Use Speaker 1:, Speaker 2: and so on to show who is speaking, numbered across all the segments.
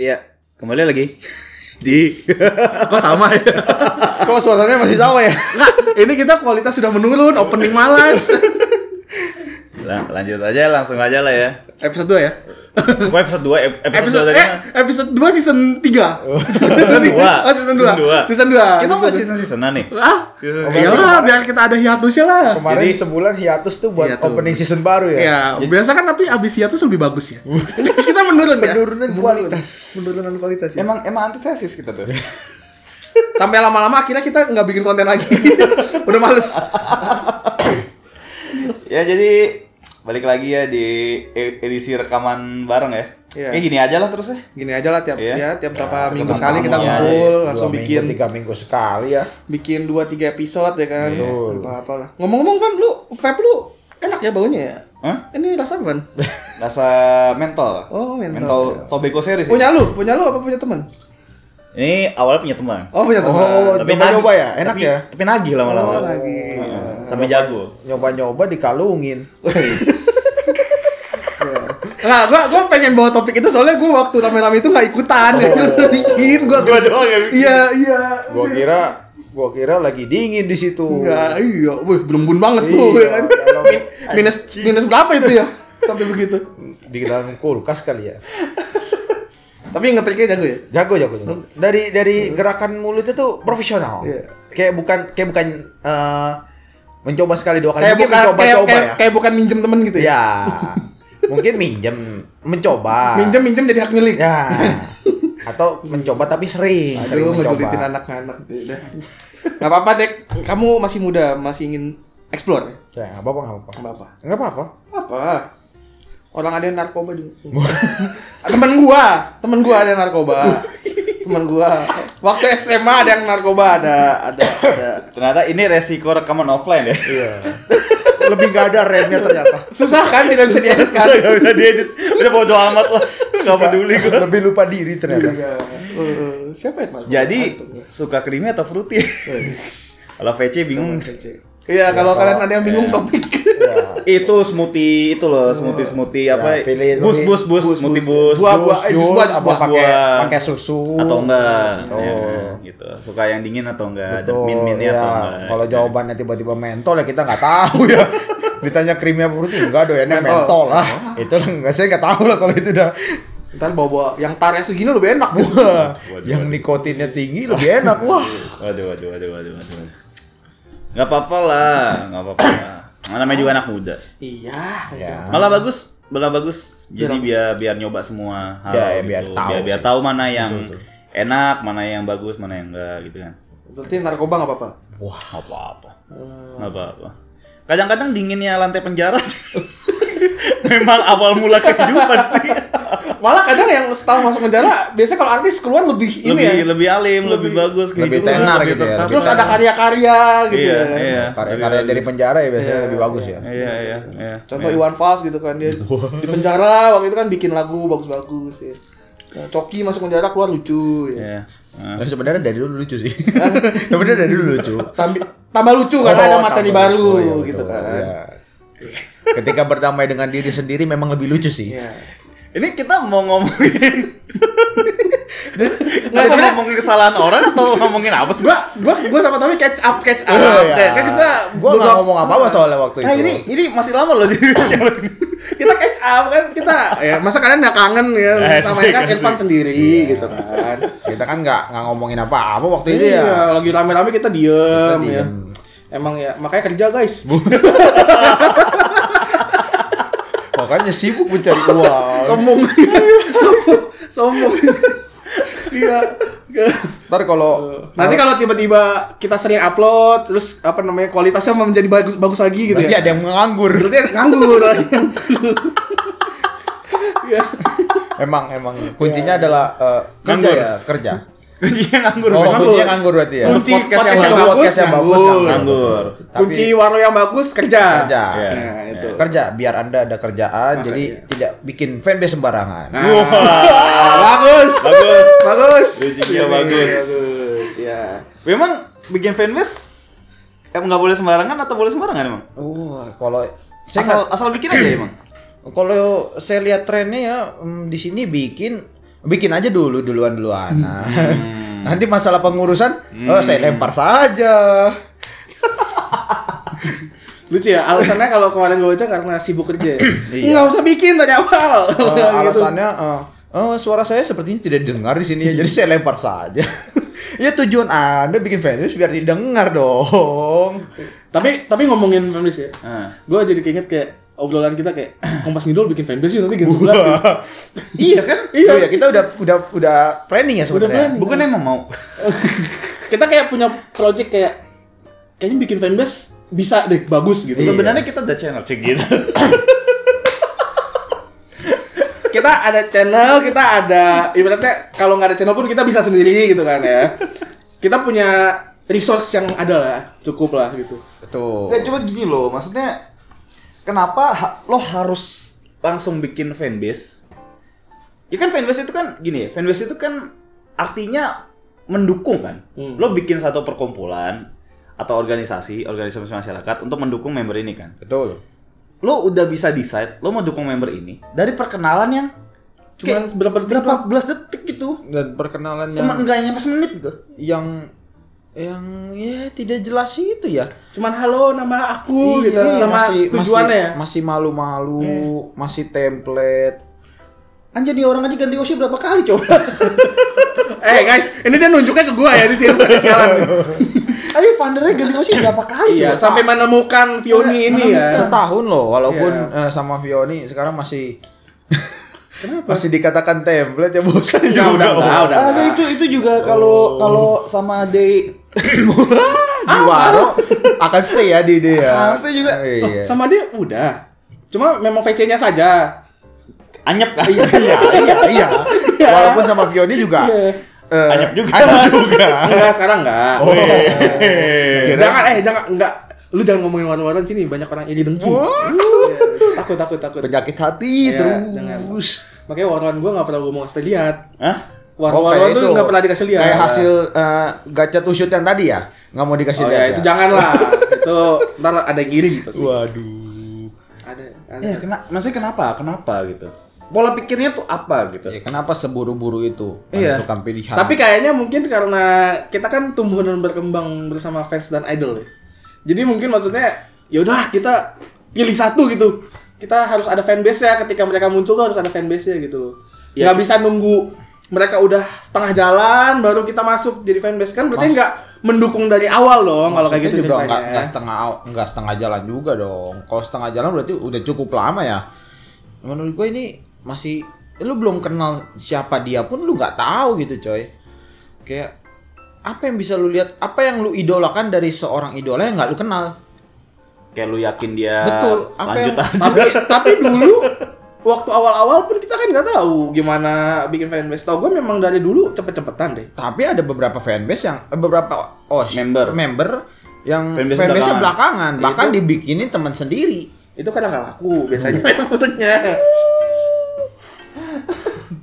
Speaker 1: Iya, kembali lagi di
Speaker 2: Kok sama ya?
Speaker 3: Kok suaranya masih sama ya?
Speaker 2: Nggak, ini kita kualitas sudah menurun, opening malas.
Speaker 1: Lan- lanjut aja langsung aja lah ya.
Speaker 2: Episode 2 ya?
Speaker 1: Gua episode 2 episode, 2
Speaker 2: Episode, eh, episode 2 season 3.
Speaker 1: Season dua.
Speaker 2: Oh,
Speaker 1: Season
Speaker 2: season
Speaker 1: dua.
Speaker 2: 2. Season 2.
Speaker 1: Kita masih season seasonan nih.
Speaker 2: Ah?
Speaker 1: Season
Speaker 2: Ya lah, biar kita ada hiatusnya lah.
Speaker 3: Kemarin
Speaker 1: Jadi-
Speaker 3: sebulan hiatus tuh buat
Speaker 2: Hiatus.
Speaker 3: opening season baru ya.
Speaker 2: Ya, biasa kan tapi abis hiatus lebih bagus ya.
Speaker 1: Hmm.
Speaker 2: Ini kita menurun ya.
Speaker 3: Penurunan kualitas.
Speaker 2: Penurunan kualitas ya.
Speaker 1: Emang emang antitesis kita tuh.
Speaker 2: Sampai lama-lama akhirnya kita nggak bikin konten lagi. Udah males.
Speaker 1: ya jadi balik lagi ya di e- edisi rekaman bareng ya.
Speaker 2: Iya.
Speaker 1: Ya gini aja lah terus ya.
Speaker 2: Gini aja lah tiap
Speaker 1: Iya.
Speaker 2: ya, tiap berapa
Speaker 3: Ya,
Speaker 2: minggu
Speaker 3: sebentar
Speaker 2: sekali kita
Speaker 1: lama ya.
Speaker 2: ngumpul
Speaker 3: Dua
Speaker 2: langsung
Speaker 3: minggu,
Speaker 2: bikin
Speaker 3: tiga minggu sekali ya.
Speaker 2: bikin 2 3 episode ya kan.
Speaker 3: Betul.
Speaker 2: Apa apalah. Ngomong-ngomong Van, lu vape lu enak ya baunya ya?
Speaker 1: Hah?
Speaker 2: Ini rasa apa, Van?
Speaker 1: Rasa mentol.
Speaker 2: Oh, mentol.
Speaker 1: Tobacco series. ya.
Speaker 2: punya lu, punya lu apa punya teman?
Speaker 1: Ini awalnya punya teman.
Speaker 2: Oh, punya teman.
Speaker 3: Oh,
Speaker 1: nagih-
Speaker 3: nyoba-nyoba ya, enak
Speaker 1: tapi-
Speaker 3: ya.
Speaker 1: Tapi nagih lama-lama.
Speaker 2: Oh, lagi.
Speaker 1: Heeh, Sampai jago.
Speaker 3: Nyoba-nyoba dikalungin.
Speaker 2: Nah, gua gua pengen bawa topik itu soalnya gua waktu rame-rame itu nggak ikutan.
Speaker 3: Oh.
Speaker 2: Gua sudah bikin gua.
Speaker 1: Gua doang yang bikin.
Speaker 2: Iya, iya.
Speaker 3: Gua kira gua kira lagi dingin di situ.
Speaker 2: Enggak, iya. Wih, belum bun banget tuh
Speaker 3: Iya,
Speaker 2: ya kan.
Speaker 3: dalam-
Speaker 2: Min- minus minus berapa itu ya? Sampai begitu.
Speaker 3: Di dalam kulkas kali ya.
Speaker 2: Tapi ngetriknya jago ya.
Speaker 3: Jago jago jago. Dari dari gerakan mulutnya tuh profesional.
Speaker 2: Iya.
Speaker 3: Kayak bukan kayak bukan eh, mencoba sekali dua kali
Speaker 2: Kayak
Speaker 3: mungkin
Speaker 2: bukan kayak,
Speaker 3: mencoba-coba
Speaker 2: kayak,
Speaker 3: ya.
Speaker 2: kayak bukan minjem temen gitu ya.
Speaker 3: Ya. mungkin minjem mencoba.
Speaker 2: Minjem-minjem jadi hak milik.
Speaker 3: Ya. Atau mencoba tapi sering, sering
Speaker 2: Aduh,
Speaker 3: mencoba.
Speaker 2: ngejulitin anak-anak. Udah. Gak apa-apa, Dek. Kamu masih muda, masih ingin explore.
Speaker 3: Ya, enggak apa-apa, enggak apa-apa.
Speaker 2: Gak apa-apa.
Speaker 3: Enggak apa-apa.
Speaker 2: apa orang ada yang narkoba juga temen gua temen gua ada yang narkoba temen gua waktu SMA ada yang narkoba ada ada ada
Speaker 1: Ternyata ini resiko rekaman offline ya.
Speaker 3: Iya. Lebih gak ada remnya ternyata.
Speaker 2: susah kan tidak bisa diedit kan
Speaker 1: Gak bisa diedit. Udah bodo amat lah. Gak peduli gue.
Speaker 3: Lebih lupa diri ternyata.
Speaker 2: Iya. Eh, siapa yang narkoba
Speaker 1: Jadi suka creamy atau fruity? Kalau VC bingung.
Speaker 2: Iya, kalau kalian ada yang bingung topik.
Speaker 3: Ya.
Speaker 1: Itu smoothie itu loh, smoothie smoothie apa?
Speaker 3: Ya, pilihin
Speaker 1: bus,
Speaker 3: ini.
Speaker 1: bus bus smoothie bus.
Speaker 2: Buah, buah, eh, jus buah,
Speaker 3: Jus, buah,
Speaker 2: jus
Speaker 3: apa
Speaker 2: buah.
Speaker 3: pakai
Speaker 1: Buah.
Speaker 3: pakai susu
Speaker 1: Atau enggak?
Speaker 3: Oh.
Speaker 1: Ya, gitu. Suka yang dingin atau enggak? Ada
Speaker 3: Betul,
Speaker 1: min minnya
Speaker 3: ya.
Speaker 1: atau enggak? Iya.
Speaker 3: Kalau jawabannya tiba-tiba mentol ya kita nggak tahu ya. Ditanya krimnya fruity enggak doyannya mentol, lah. Itu lah, enggak saya nggak tahu lah kalau itu udah
Speaker 2: Ntar bawa-bawa yang tarnya segini lebih enak.
Speaker 3: Wah, yang nikotinnya tinggi lebih enak. Wah,
Speaker 1: Waduh waduh waduh waduh waduh. Gak apa-apa lah, gak apa-apa. lah. Namanya juga anak muda.
Speaker 2: Iya.
Speaker 3: ya.
Speaker 1: Malah bagus, malah bagus. Jadi biar biar nyoba semua hal
Speaker 3: Ya, ya, biar
Speaker 1: gitu.
Speaker 3: tahu
Speaker 1: biar, biar
Speaker 3: sih.
Speaker 1: tahu mana yang enak, mana yang bagus, mana yang enggak gitu kan.
Speaker 2: Berarti narkoba nggak apa-apa.
Speaker 1: Wah, apa-apa.
Speaker 3: Eh.
Speaker 1: Apa-apa. Kadang-kadang dinginnya lantai penjara. Memang awal mula kehidupan sih.
Speaker 2: Malah kadang yang setelah masuk penjara, biasanya kalau artis keluar lebih ini
Speaker 1: lebih
Speaker 2: ya.
Speaker 1: lebih alim, lebih, bagus
Speaker 3: lebih
Speaker 1: kehidupan,
Speaker 3: tenar gitu ya,
Speaker 1: tertata.
Speaker 3: lebih
Speaker 2: Terus ada karya-karya gitu
Speaker 1: iya,
Speaker 2: ya.
Speaker 1: iya.
Speaker 3: Karya-karya dari penjara ya biasanya lebih bagus ya.
Speaker 1: Iya, iya, iya.
Speaker 2: Contoh Iwan Fals gitu kan dia di penjara waktu itu kan bikin lagu bagus-bagus ya. Nah, Coki masuk penjara keluar lucu ya.
Speaker 1: Iya. Nah.
Speaker 3: Nah, sebenarnya dari dulu lucu sih. sebenarnya dari dulu lucu.
Speaker 2: Tambi- tambah lucu karena
Speaker 3: Oh,
Speaker 2: kan ada materi
Speaker 3: tambah
Speaker 2: baru
Speaker 3: lucu, iya,
Speaker 2: gitu
Speaker 3: betul,
Speaker 2: kan.
Speaker 3: iya. Ketika berdamai dengan diri sendiri memang lebih lucu sih.
Speaker 2: Iya.
Speaker 1: Ini kita mau ngomongin
Speaker 2: Nggak,
Speaker 1: Kita
Speaker 2: Nah, sebenarnya-
Speaker 1: ngomongin kesalahan orang atau ngomongin apa sih?
Speaker 2: Gua gua gua sama Tommy catch up catch up.
Speaker 3: Iya.
Speaker 2: Kayak kan kita
Speaker 3: gua nggak ngomong apa-apa soalnya waktu itu.
Speaker 1: Nah, ini ini masih lama loh jadi challenge ini.
Speaker 2: kita catch up kan kita ya masa kalian nggak kangen ya
Speaker 1: Asik,
Speaker 3: Eh,
Speaker 2: sama kan
Speaker 1: asik.
Speaker 2: Irfan
Speaker 3: Iya.
Speaker 2: sendiri gitu kan.
Speaker 3: Kita kan nggak nggak ngomongin apa-apa waktu itu
Speaker 2: Iya,
Speaker 3: ya.
Speaker 2: lagi rame-rame kita diem,
Speaker 3: Kita
Speaker 2: ya.
Speaker 3: diem.
Speaker 2: Emang ya, makanya kerja guys.
Speaker 3: Makanya sibuk mencari uang.
Speaker 2: sombong sombong sombong iya
Speaker 3: Ntar kalau
Speaker 2: nanti kalau tiba-tiba kita sering upload terus apa namanya kualitasnya menjadi bagus bagus lagi gitu
Speaker 3: nanti
Speaker 2: ya
Speaker 3: ada yang menganggur.
Speaker 2: berarti nganggur lagi Iya.
Speaker 3: Emang emang kuncinya adalah eh, kerja
Speaker 1: Nganggur.
Speaker 3: ya kerja.
Speaker 1: Kuncinya nganggur.
Speaker 3: Oh,
Speaker 1: Bang.
Speaker 3: kuncinya nganggur berarti ya.
Speaker 2: Kunci
Speaker 1: Podcast yang
Speaker 2: podcast yang
Speaker 1: bagus,
Speaker 2: bagus
Speaker 3: yang bagus
Speaker 2: nganggur.
Speaker 1: Nganggur.
Speaker 3: Tapi
Speaker 2: kunci warung yang bagus kerja
Speaker 3: kerja.
Speaker 1: Iya.
Speaker 2: nah itu
Speaker 3: Kerja biar Anda ada kerjaan
Speaker 2: Makanya. Nah,
Speaker 3: jadi tidak bikin fanbase sembarangan. iya.
Speaker 2: Ah, bagus
Speaker 1: Bagus.
Speaker 2: bagus
Speaker 1: Kuncinya
Speaker 2: Ini,
Speaker 1: bagus.
Speaker 2: bagus ya
Speaker 1: Memang bikin fanbase emang nggak boleh sembarangan atau boleh sembarangan emang?
Speaker 3: Uh, kalau
Speaker 1: Asal
Speaker 3: saya nggak-
Speaker 1: asal bikin aja emang.
Speaker 3: kalau saya lihat trennya ya mm, di sini bikin bikin aja dulu duluan duluan. Nah, nanti masalah pengurusan, oh saya lempar saja.
Speaker 2: Lucu ya, alasannya kalau kemarin gue baca karena sibuk kerja ya.
Speaker 1: Iya. Oh,
Speaker 2: Nggak usah bikin dari awal.
Speaker 3: Eh,
Speaker 2: Gitu.
Speaker 3: alasannya, eh, oh suara saya sepertinya tidak didengar di sini ya, jadi saya lempar saja. ya tujuan anda bikin fanbase biar didengar dong.
Speaker 2: Tapi tapi ngomongin fanbase ya.
Speaker 1: Ah.
Speaker 2: Gue jadi keinget kayak obrolan kita kayak Kompas Ngidol bikin fanbase yuk, nanti Gen 11 gitu.
Speaker 3: iya kan?
Speaker 2: Iya.
Speaker 3: Oh, kita udah udah udah planning ya sebenarnya.
Speaker 2: planning.
Speaker 1: Bukan emang mau.
Speaker 2: kita kayak punya project kayak kayaknya bikin fanbase bisa deh bagus gitu.
Speaker 3: Iya.
Speaker 1: Sebenarnya kita ada channel cek gitu.
Speaker 2: kita ada channel, kita ada ibaratnya kalau nggak ada channel pun kita bisa sendiri gitu kan ya. Kita punya resource yang ada lah, cukup lah gitu.
Speaker 3: Betul.
Speaker 1: Nggak, cuma Ya, gini loh, maksudnya kenapa ha- lo harus langsung bikin fanbase? Ya kan fanbase itu kan gini, ya, fanbase itu kan artinya mendukung kan.
Speaker 2: Hmm.
Speaker 1: Lo bikin satu perkumpulan atau organisasi, organisasi masyarakat untuk mendukung member ini kan.
Speaker 3: Betul.
Speaker 1: Lo udah bisa decide lo mau dukung member ini dari perkenalan yang
Speaker 2: Cuman
Speaker 1: kayak
Speaker 2: berapa detik
Speaker 1: berapa belas detik gitu.
Speaker 3: Dan perkenalan yang
Speaker 1: Semen enggak nyampe semenit gitu.
Speaker 3: yang yang ya tidak jelas itu ya.
Speaker 2: cuman halo nama aku gitu
Speaker 3: Iya,
Speaker 2: sama
Speaker 3: masih-
Speaker 2: tujuannya ya. Iya.
Speaker 3: masih, masih malu-malu, masih template.
Speaker 1: Anjir nih orang aja ganti OC berapa kali coba?
Speaker 2: Eh guys, ini dia nunjuknya ke gua ya di sini pada sialan.
Speaker 1: Ayo fundernya ganti OC berapa kali
Speaker 2: Iya,
Speaker 1: coba?
Speaker 2: sampai menemukan Vioni ini
Speaker 3: Setahun-
Speaker 2: ya. Iya.
Speaker 3: Setahun loh, walaupun eh, sama Vioni sekarang masih masih dikatakan template ya bosan
Speaker 2: Ya, udah,
Speaker 3: juga.
Speaker 2: udah, udah.
Speaker 1: Ah, itu itu juga kalau kalau sama Day
Speaker 3: Di
Speaker 2: Ah.
Speaker 3: Waro akan stay ya di dia.
Speaker 1: Akan stay juga.
Speaker 3: Iya.
Speaker 2: Sama dia udah. Cuma memang VC-nya saja.
Speaker 1: anyep
Speaker 2: Oh,
Speaker 1: kan?
Speaker 3: iya, iya, iya. Walaupun sama Vioni juga.
Speaker 2: Iya.
Speaker 3: eh,
Speaker 1: Anyep juga.
Speaker 3: anyep juga.
Speaker 2: Enggak, sekarang enggak.
Speaker 3: Oh,
Speaker 2: Iya.
Speaker 1: Hehehe.
Speaker 2: Jangan eh jangan enggak. Lu jangan ngomongin warna-warna sini, banyak orang ini dengki. Iya, takut takut takut.
Speaker 3: Penyakit hati
Speaker 2: Iya, jangan.
Speaker 3: terus.
Speaker 2: Makanya warna-warna gua enggak pernah gua mau kasih lihat.
Speaker 1: Hah?
Speaker 2: Warna-warna
Speaker 3: Oh, kayak
Speaker 2: tuh
Speaker 3: itu.
Speaker 2: enggak pernah dikasih lihat.
Speaker 3: Kayak hasil eh, gacet usut yang tadi ya, nggak mau dikasih
Speaker 2: Oh
Speaker 3: lihat.
Speaker 2: ya, itu jangan lah. itu ntar ada yang iri pasti.
Speaker 3: Waduh.
Speaker 2: Ada. ada.
Speaker 3: Eh,
Speaker 1: Ya, kena, maksudnya kenapa? Kenapa gitu? Pola pikirnya tuh apa gitu?
Speaker 3: Ya, kenapa seburu-buru itu
Speaker 1: Iya.
Speaker 3: menentukan pilihan?
Speaker 2: Tapi kayaknya mungkin karena kita kan tumbuh dan berkembang bersama fans dan idol ya. Jadi mungkin maksudnya yaudah kita pilih satu gitu. Kita harus ada fanbase ya ketika mereka muncul tuh harus ada fanbase ya gitu.
Speaker 1: Ya,
Speaker 2: nggak bisa nunggu mereka udah setengah jalan baru kita masuk jadi fanbase kan berarti nggak mendukung dari awal dong kalau kayak
Speaker 3: Maksudnya
Speaker 2: gitu
Speaker 3: juga nggak
Speaker 2: ceritanya.
Speaker 3: nggak setengah nggak setengah jalan juga dong. Kalau setengah jalan berarti udah cukup lama ya. Menurut gue ini masih ya lu belum kenal siapa dia pun lu nggak tahu gitu coy. Kayak apa yang bisa lu lihat? Apa yang lu idolakan dari seorang idola yang nggak lu kenal?
Speaker 1: Kayak lu yakin dia
Speaker 3: Betul. Apa
Speaker 1: lanjut
Speaker 3: yang-
Speaker 1: aja.
Speaker 2: tapi tapi dulu waktu awal-awal pun kita kan nggak tahu gimana bikin fanbase. Tahu gue memang dari dulu cepet-cepetan deh.
Speaker 3: Tapi ada beberapa fanbase yang eh, beberapa os
Speaker 1: Member.
Speaker 3: member yang
Speaker 1: Fanbase belakangan.
Speaker 3: fanbase-nya belakangan, bahkan dibikinin teman sendiri.
Speaker 2: itu kadang nggak laku biasanya memang bentuknya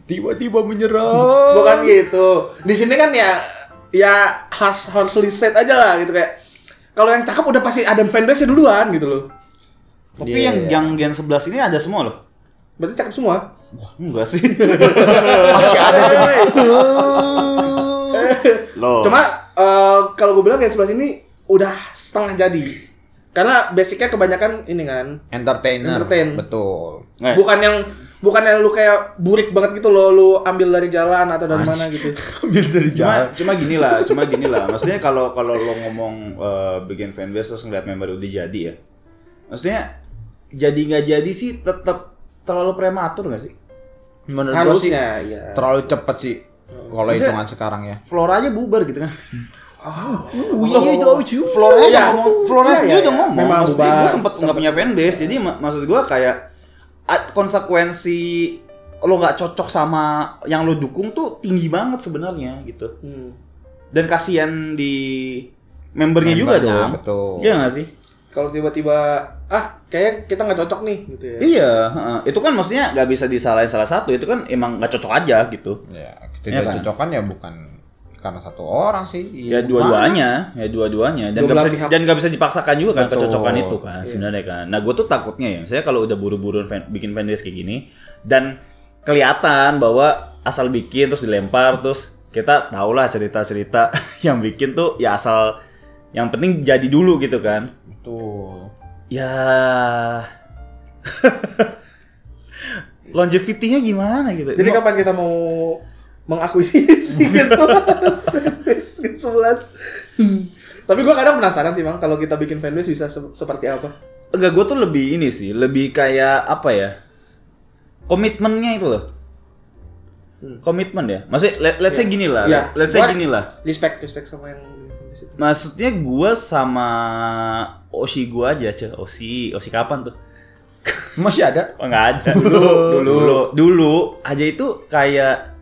Speaker 3: Tiba-tiba menyerang.
Speaker 2: bukan gitu di sini kan ya ya harus harus riset aja lah gitu kayak kalau yang cakep udah pasti ada fanbase duluan gitu loh
Speaker 1: Tapi
Speaker 3: Iya,
Speaker 1: yang
Speaker 3: iya.
Speaker 1: yang Gen 11 ini ada semua loh.
Speaker 2: berarti cakep semua
Speaker 1: Wah, enggak sih.
Speaker 3: Masih ada tuh. Oh.
Speaker 1: loh.
Speaker 2: cuma eh, kalau gue bilang yang sebelah sini udah setengah jadi karena basicnya kebanyakan ini kan
Speaker 3: Entertainer.
Speaker 2: Entertain.
Speaker 3: Betul.
Speaker 1: Nggak ya?
Speaker 2: bukan yang bukan yang lu kayak burik banget gitu loh lu ambil dari jalan atau dari mana gitu
Speaker 3: Ambil dari
Speaker 1: cuma Ya, cuma gini lah cuma gini lah maksudnya kalau kalau lo ngomong eh, bikin fanbase terus ngeliat member udah jadi ya maksudnya jadi nggak jadi sih tetap terlalu prematur nggak sih
Speaker 3: Menurut gua sih
Speaker 2: harusnya ya
Speaker 3: terlalu cepet sih kalau
Speaker 1: Maksudnya-
Speaker 3: hitungan sekarang ya.
Speaker 1: Flora aja bubar gitu kan
Speaker 3: iya, itu lucu.
Speaker 1: Flora
Speaker 2: Iya.
Speaker 1: aja ngomong Flora
Speaker 2: Iya,
Speaker 1: sendiri
Speaker 2: iya,
Speaker 1: udah
Speaker 2: iya.
Speaker 1: ngomong
Speaker 2: Memang
Speaker 1: maksudnya
Speaker 2: bubar.
Speaker 1: gue sempet nggak punya fanbase jadi ma- maksud gue kayak a- konsekuensi lo nggak cocok sama yang lo dukung tuh tinggi banget sebenarnya gitu
Speaker 2: Hmm.
Speaker 1: dan kasihan di membernya, juga
Speaker 3: Membernya,
Speaker 1: dong
Speaker 3: betul.
Speaker 1: iya nggak sih
Speaker 2: kalau tiba-tiba ah kayaknya kita nggak cocok nih gitu ya
Speaker 1: Iya, heeh. itu kan maksudnya nggak bisa disalahin salah satu, itu kan emang nggak cocok aja gitu. Iya
Speaker 3: Ya,
Speaker 1: kan?
Speaker 3: ketidakcocokan ya bukan karena satu orang sih.
Speaker 1: Ya
Speaker 3: Iya,
Speaker 1: dua-duanya, ya dua-duanya, dan
Speaker 2: Iya. Dua Iya.
Speaker 1: nggak
Speaker 2: belah
Speaker 1: bisa
Speaker 2: pihak.
Speaker 1: dan nggak bisa dipaksakan juga kan
Speaker 3: Betul.
Speaker 1: kecocokan itu kan sebenarnya kan. Nah gue tuh takutnya ya, saya kalau udah buru-buru fan- bikin fanbase kayak gini dan kelihatan bahwa asal bikin terus dilempar terus kita tahulah cerita-cerita yang bikin tuh ya asal yang penting jadi dulu gitu kan.
Speaker 3: Betul.
Speaker 1: Ya longevity-nya gimana gitu.
Speaker 2: Jadi
Speaker 1: Lo-
Speaker 2: kapan kita mau mengakuisisi Gen 11? Fanbase Gen 11. Hmm. Tapi gua kadang penasaran sih, Bang, kalau kita bikin fanbase bisa se- seperti apa.
Speaker 1: Enggak, gue tuh lebih ini sih, lebih kayak apa ya? Komitmennya itu loh.
Speaker 2: Hmm.
Speaker 1: Komitmen ya. Maksudnya let, let's say gini
Speaker 3: Ya.
Speaker 1: lah.
Speaker 2: Iya.
Speaker 1: Let's say
Speaker 2: Gua-
Speaker 1: gini lah.
Speaker 2: Respect, respect sama yang di situ.
Speaker 1: Maksudnya gue sama Oshi gue aja, Ceh. Oshi, Oshi kapan tuh?
Speaker 3: Masih ada?
Speaker 1: Oh, nggak ada.
Speaker 3: Dulu.
Speaker 1: dulu. Dulu. Dulu aja itu kayak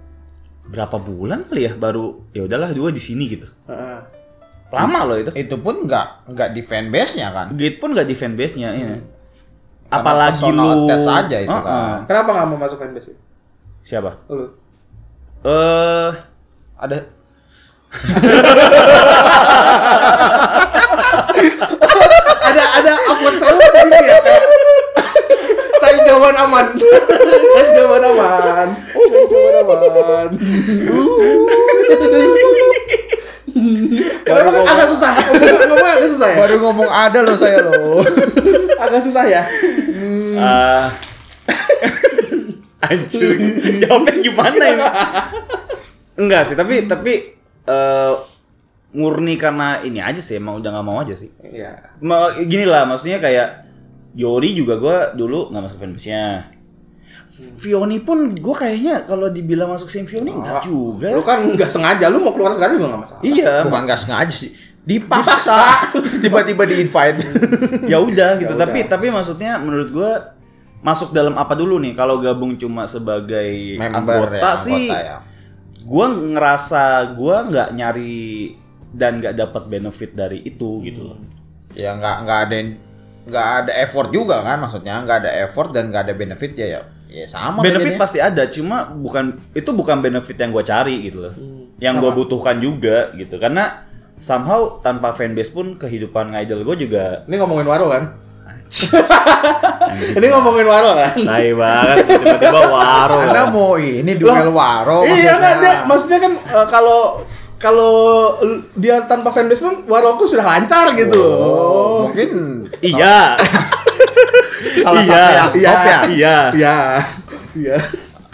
Speaker 1: berapa bulan kali ya baru ya udahlah dua di sini gitu.
Speaker 2: Heeh.
Speaker 1: Lama loh itu.
Speaker 3: Itu pun nggak nggak di fanbase-nya kan.
Speaker 1: Gate pun gak di fanbase-nya, iya.
Speaker 3: Karena
Speaker 1: Apalagi
Speaker 3: personal
Speaker 1: lu
Speaker 3: attach aja itu
Speaker 1: Heeh.
Speaker 3: kan.
Speaker 2: Kenapa nggak mau masuk fanbase? Lu?
Speaker 1: Siapa? Eh,
Speaker 3: Ada
Speaker 2: ada ada upload selalu sini ya. Kak? Cari jawaban aman. Cari jawaban aman. Cari jawaban aman.
Speaker 3: Baru
Speaker 2: Baru
Speaker 3: ngomong.
Speaker 2: agak susah. Ngomong- Ngomong agak susah ya.
Speaker 3: baru ngomong ada loh saya loh.
Speaker 2: Agak susah ya.
Speaker 1: Ah. Anjir, jawabnya gimana ini? Enggak sih, tapi tapi eh, murni karena ini aja sih, emang udah nggak mau aja sih.
Speaker 2: Iya.
Speaker 1: Ma- gini lah, maksudnya kayak Yori juga gua dulu nggak masuk fanbase-nya. Vioni pun gua kayaknya kalau dibilang masuk sim Vioni enggak juga.
Speaker 2: Lu kan nggak sengaja, lu mau keluar sekarang juga nggak masalah.
Speaker 1: Iya,
Speaker 3: Bukan nggak sengaja sih. Dipaksa. Tiba-tiba di invite.
Speaker 1: ya udah gitu
Speaker 2: Ya udah.
Speaker 1: tapi tapi maksudnya menurut gua masuk dalam apa dulu nih kalau gabung cuma sebagai
Speaker 3: Member
Speaker 1: anggota
Speaker 3: ya,
Speaker 1: sih
Speaker 3: anggota ya.
Speaker 1: gua ngerasa gua nggak nyari dan nggak dapat benefit dari itu gitu loh
Speaker 3: Ya nggak nggak ada yang- nggak ada effort juga kan maksudnya nggak ada effort dan nggak ada benefit ya ya ya sama lah
Speaker 1: benefit
Speaker 3: jadinya.
Speaker 1: pasti ada cuma bukan itu bukan benefit yang gua cari gitu loh
Speaker 2: Hmm.
Speaker 1: yang gua butuhkan juga gitu karena somehow tanpa fanbase pun kehidupan idol gua juga
Speaker 2: Ini ngomongin waro kan? Ini ngomongin waro kan?
Speaker 1: tai banget tiba-tiba waro
Speaker 3: Anda mau ini duel
Speaker 2: iya
Speaker 3: waro Oh, maksudnya.
Speaker 2: kan dia maksudnya kan eh, kalau kalau l- dia tanpa fanbase pun waroku sudah lancar gitu.
Speaker 3: Oh, mungkin
Speaker 1: iya
Speaker 3: salah
Speaker 1: Iya.
Speaker 3: satu yang
Speaker 2: Iya.
Speaker 3: top ya.
Speaker 1: iya
Speaker 2: Iya. Iya.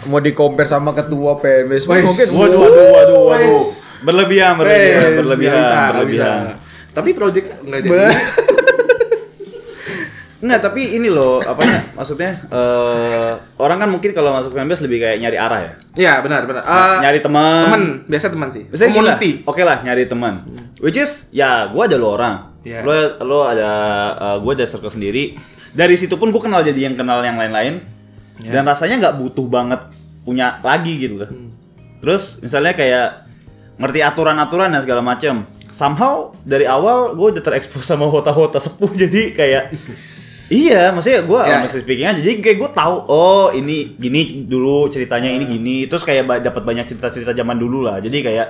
Speaker 3: Mau di compare sama ketua PMS
Speaker 2: Wes.
Speaker 3: mungkin.
Speaker 1: Waduh, waduh, waduh,
Speaker 2: Wes.
Speaker 1: waduh. Berlebihan, berlebihan,
Speaker 2: Wes,
Speaker 1: berlebihan,
Speaker 2: Iya. nggak bisa, nggak
Speaker 1: berlebihan.
Speaker 2: bisa. Tapi project nggak jadi.
Speaker 1: Enggak, tapi ini loh, apa ya, maksudnya eh, orang kan mungkin kalau masuk fanbase lebih kayak nyari arah ya.
Speaker 2: Iya, benar, benar. Eh,
Speaker 1: nyari teman.
Speaker 2: teman, biasa teman sih.
Speaker 1: Misalnya gini lah,
Speaker 2: Community.
Speaker 1: Oke lah, nyari teman. Which is ya gua ada lo orang.
Speaker 2: Iya.
Speaker 1: Lo lo ada eh, gua ada circle sendiri. Dari situ pun gua kenal jadi yang kenal yang lain-lain.
Speaker 2: Iya.
Speaker 1: Dan rasanya nggak butuh banget punya lagi gitu loh.
Speaker 2: Hmm.
Speaker 1: Terus misalnya kayak ngerti aturan-aturan dan segala macem Somehow dari awal gue udah terekspos sama hota-hota sepuh jadi kayak Iya, maksudnya gue
Speaker 2: Ya,
Speaker 1: honestly speaking aja. Jadi kayak gue tahu, oh ini gini dulu ceritanya ini
Speaker 2: Hmm.
Speaker 1: gini. Terus kayak ba- dapat banyak cerita-cerita zaman dulu lah. Jadi kayak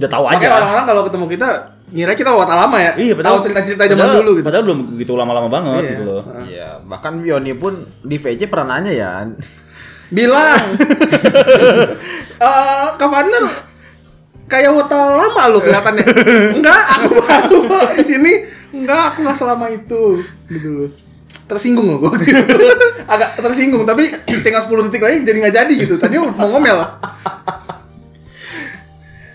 Speaker 1: udah tahu aja.
Speaker 2: Makanya orang-orang kalau ketemu kita ngira kita wata lama ya.
Speaker 1: Iya,
Speaker 2: Tahu cerita-cerita zaman
Speaker 1: padahal-
Speaker 2: dulu gitu.
Speaker 1: Padahal belum begitu lama-lama banget
Speaker 2: Iya.
Speaker 1: gitu loh.
Speaker 2: Heeh.
Speaker 3: Iya, bahkan Vioni pun di VJ pernah nanya ya.
Speaker 2: Bilang. Eh, Kavander kayak wata lama lo kelihatannya. Enggak, aku baru kok di sini. Enggak, aku nggak selama itu. Gitu loh. Tersinggung loh gue. Agak tersinggung, tapi tinggal 10 detik lagi jadi nggak jadi gitu. Tadi mau ngomel.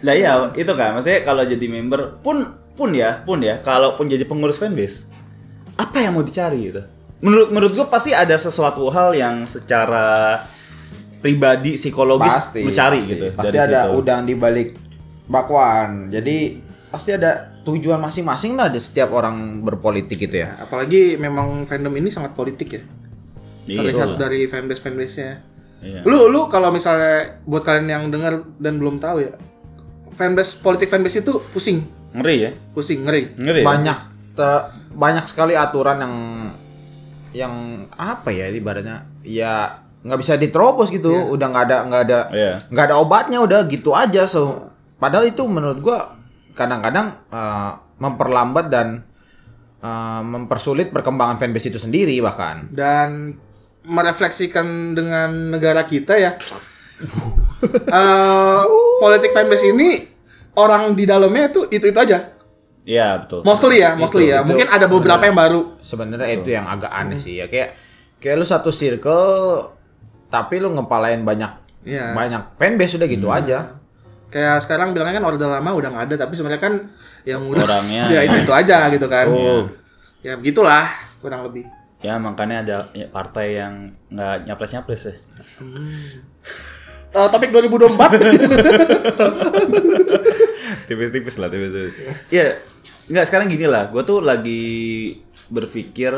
Speaker 1: Lah iya, itu kan. Maksudnya kalau jadi member pun pun ya, pun ya, kalaupun jadi pengurus fanbase, apa yang mau dicari gitu? Menurut menurut gue pasti ada sesuatu hal yang secara pribadi psikologis
Speaker 3: Pasti.
Speaker 1: lu cari
Speaker 3: pasti.
Speaker 1: gitu.
Speaker 3: Pasti
Speaker 1: dari
Speaker 3: ada
Speaker 1: situ.
Speaker 3: udang di balik bakwan. Jadi pasti ada tujuan masing-masing lah di setiap orang berpolitik gitu ya.
Speaker 2: Apalagi memang fandom ini sangat politik ya.
Speaker 1: Iya.
Speaker 2: Terlihat dari fanbase fanbase-nya.
Speaker 1: Iya.
Speaker 2: Lu lu kalau misalnya buat kalian yang dengar dan belum tahu ya, fanbase politik fanbase itu pusing,
Speaker 1: ngeri ya?
Speaker 2: pusing ngeri.
Speaker 1: Ngeri. ya?
Speaker 3: banyak te- banyak sekali aturan yang yang apa ya ibaratnya ya nggak bisa diterobos gitu udah nggak ada nggak ada
Speaker 1: Iya.
Speaker 3: nggak ada obatnya udah gitu aja so padahal itu menurut gua kadang-kadang eh, memperlambat dan eh, mempersulit perkembangan fanbase itu sendiri bahkan
Speaker 2: Dan merefleksikan dengan negara kita ya. Eh, politik fanbase ini orang di dalamnya itu itu itu aja.
Speaker 1: Iya, betul.
Speaker 2: Mostly ya, mostly
Speaker 3: Itu-
Speaker 2: ya.
Speaker 3: itu
Speaker 2: Mungkin ada beberapa
Speaker 3: sebenarnya.
Speaker 2: yang baru.
Speaker 3: sebenarnya itu yang agak aneh sih ya kayak kayak lu satu circle tapi lu ngepalain banyak
Speaker 2: Iya.
Speaker 3: banyak fanbase udah gitu aja
Speaker 2: Kayak sekarang bilangnya kan orde lama udah nggak ada, tapi sebenarnya kan yang ngurus
Speaker 1: Orangnya.
Speaker 2: ya itu itu aja gitu kan.
Speaker 1: Oh.
Speaker 2: Ya begitulah kurang lebih.
Speaker 1: Ya makanya ada ya, partai yang nggak nyapres nyapres ya.
Speaker 2: Eh, topik 2024
Speaker 1: Tipis-tipis lah, tipis-tipis. Iya, nggak sekarang gini lah. Gue tuh lagi berpikir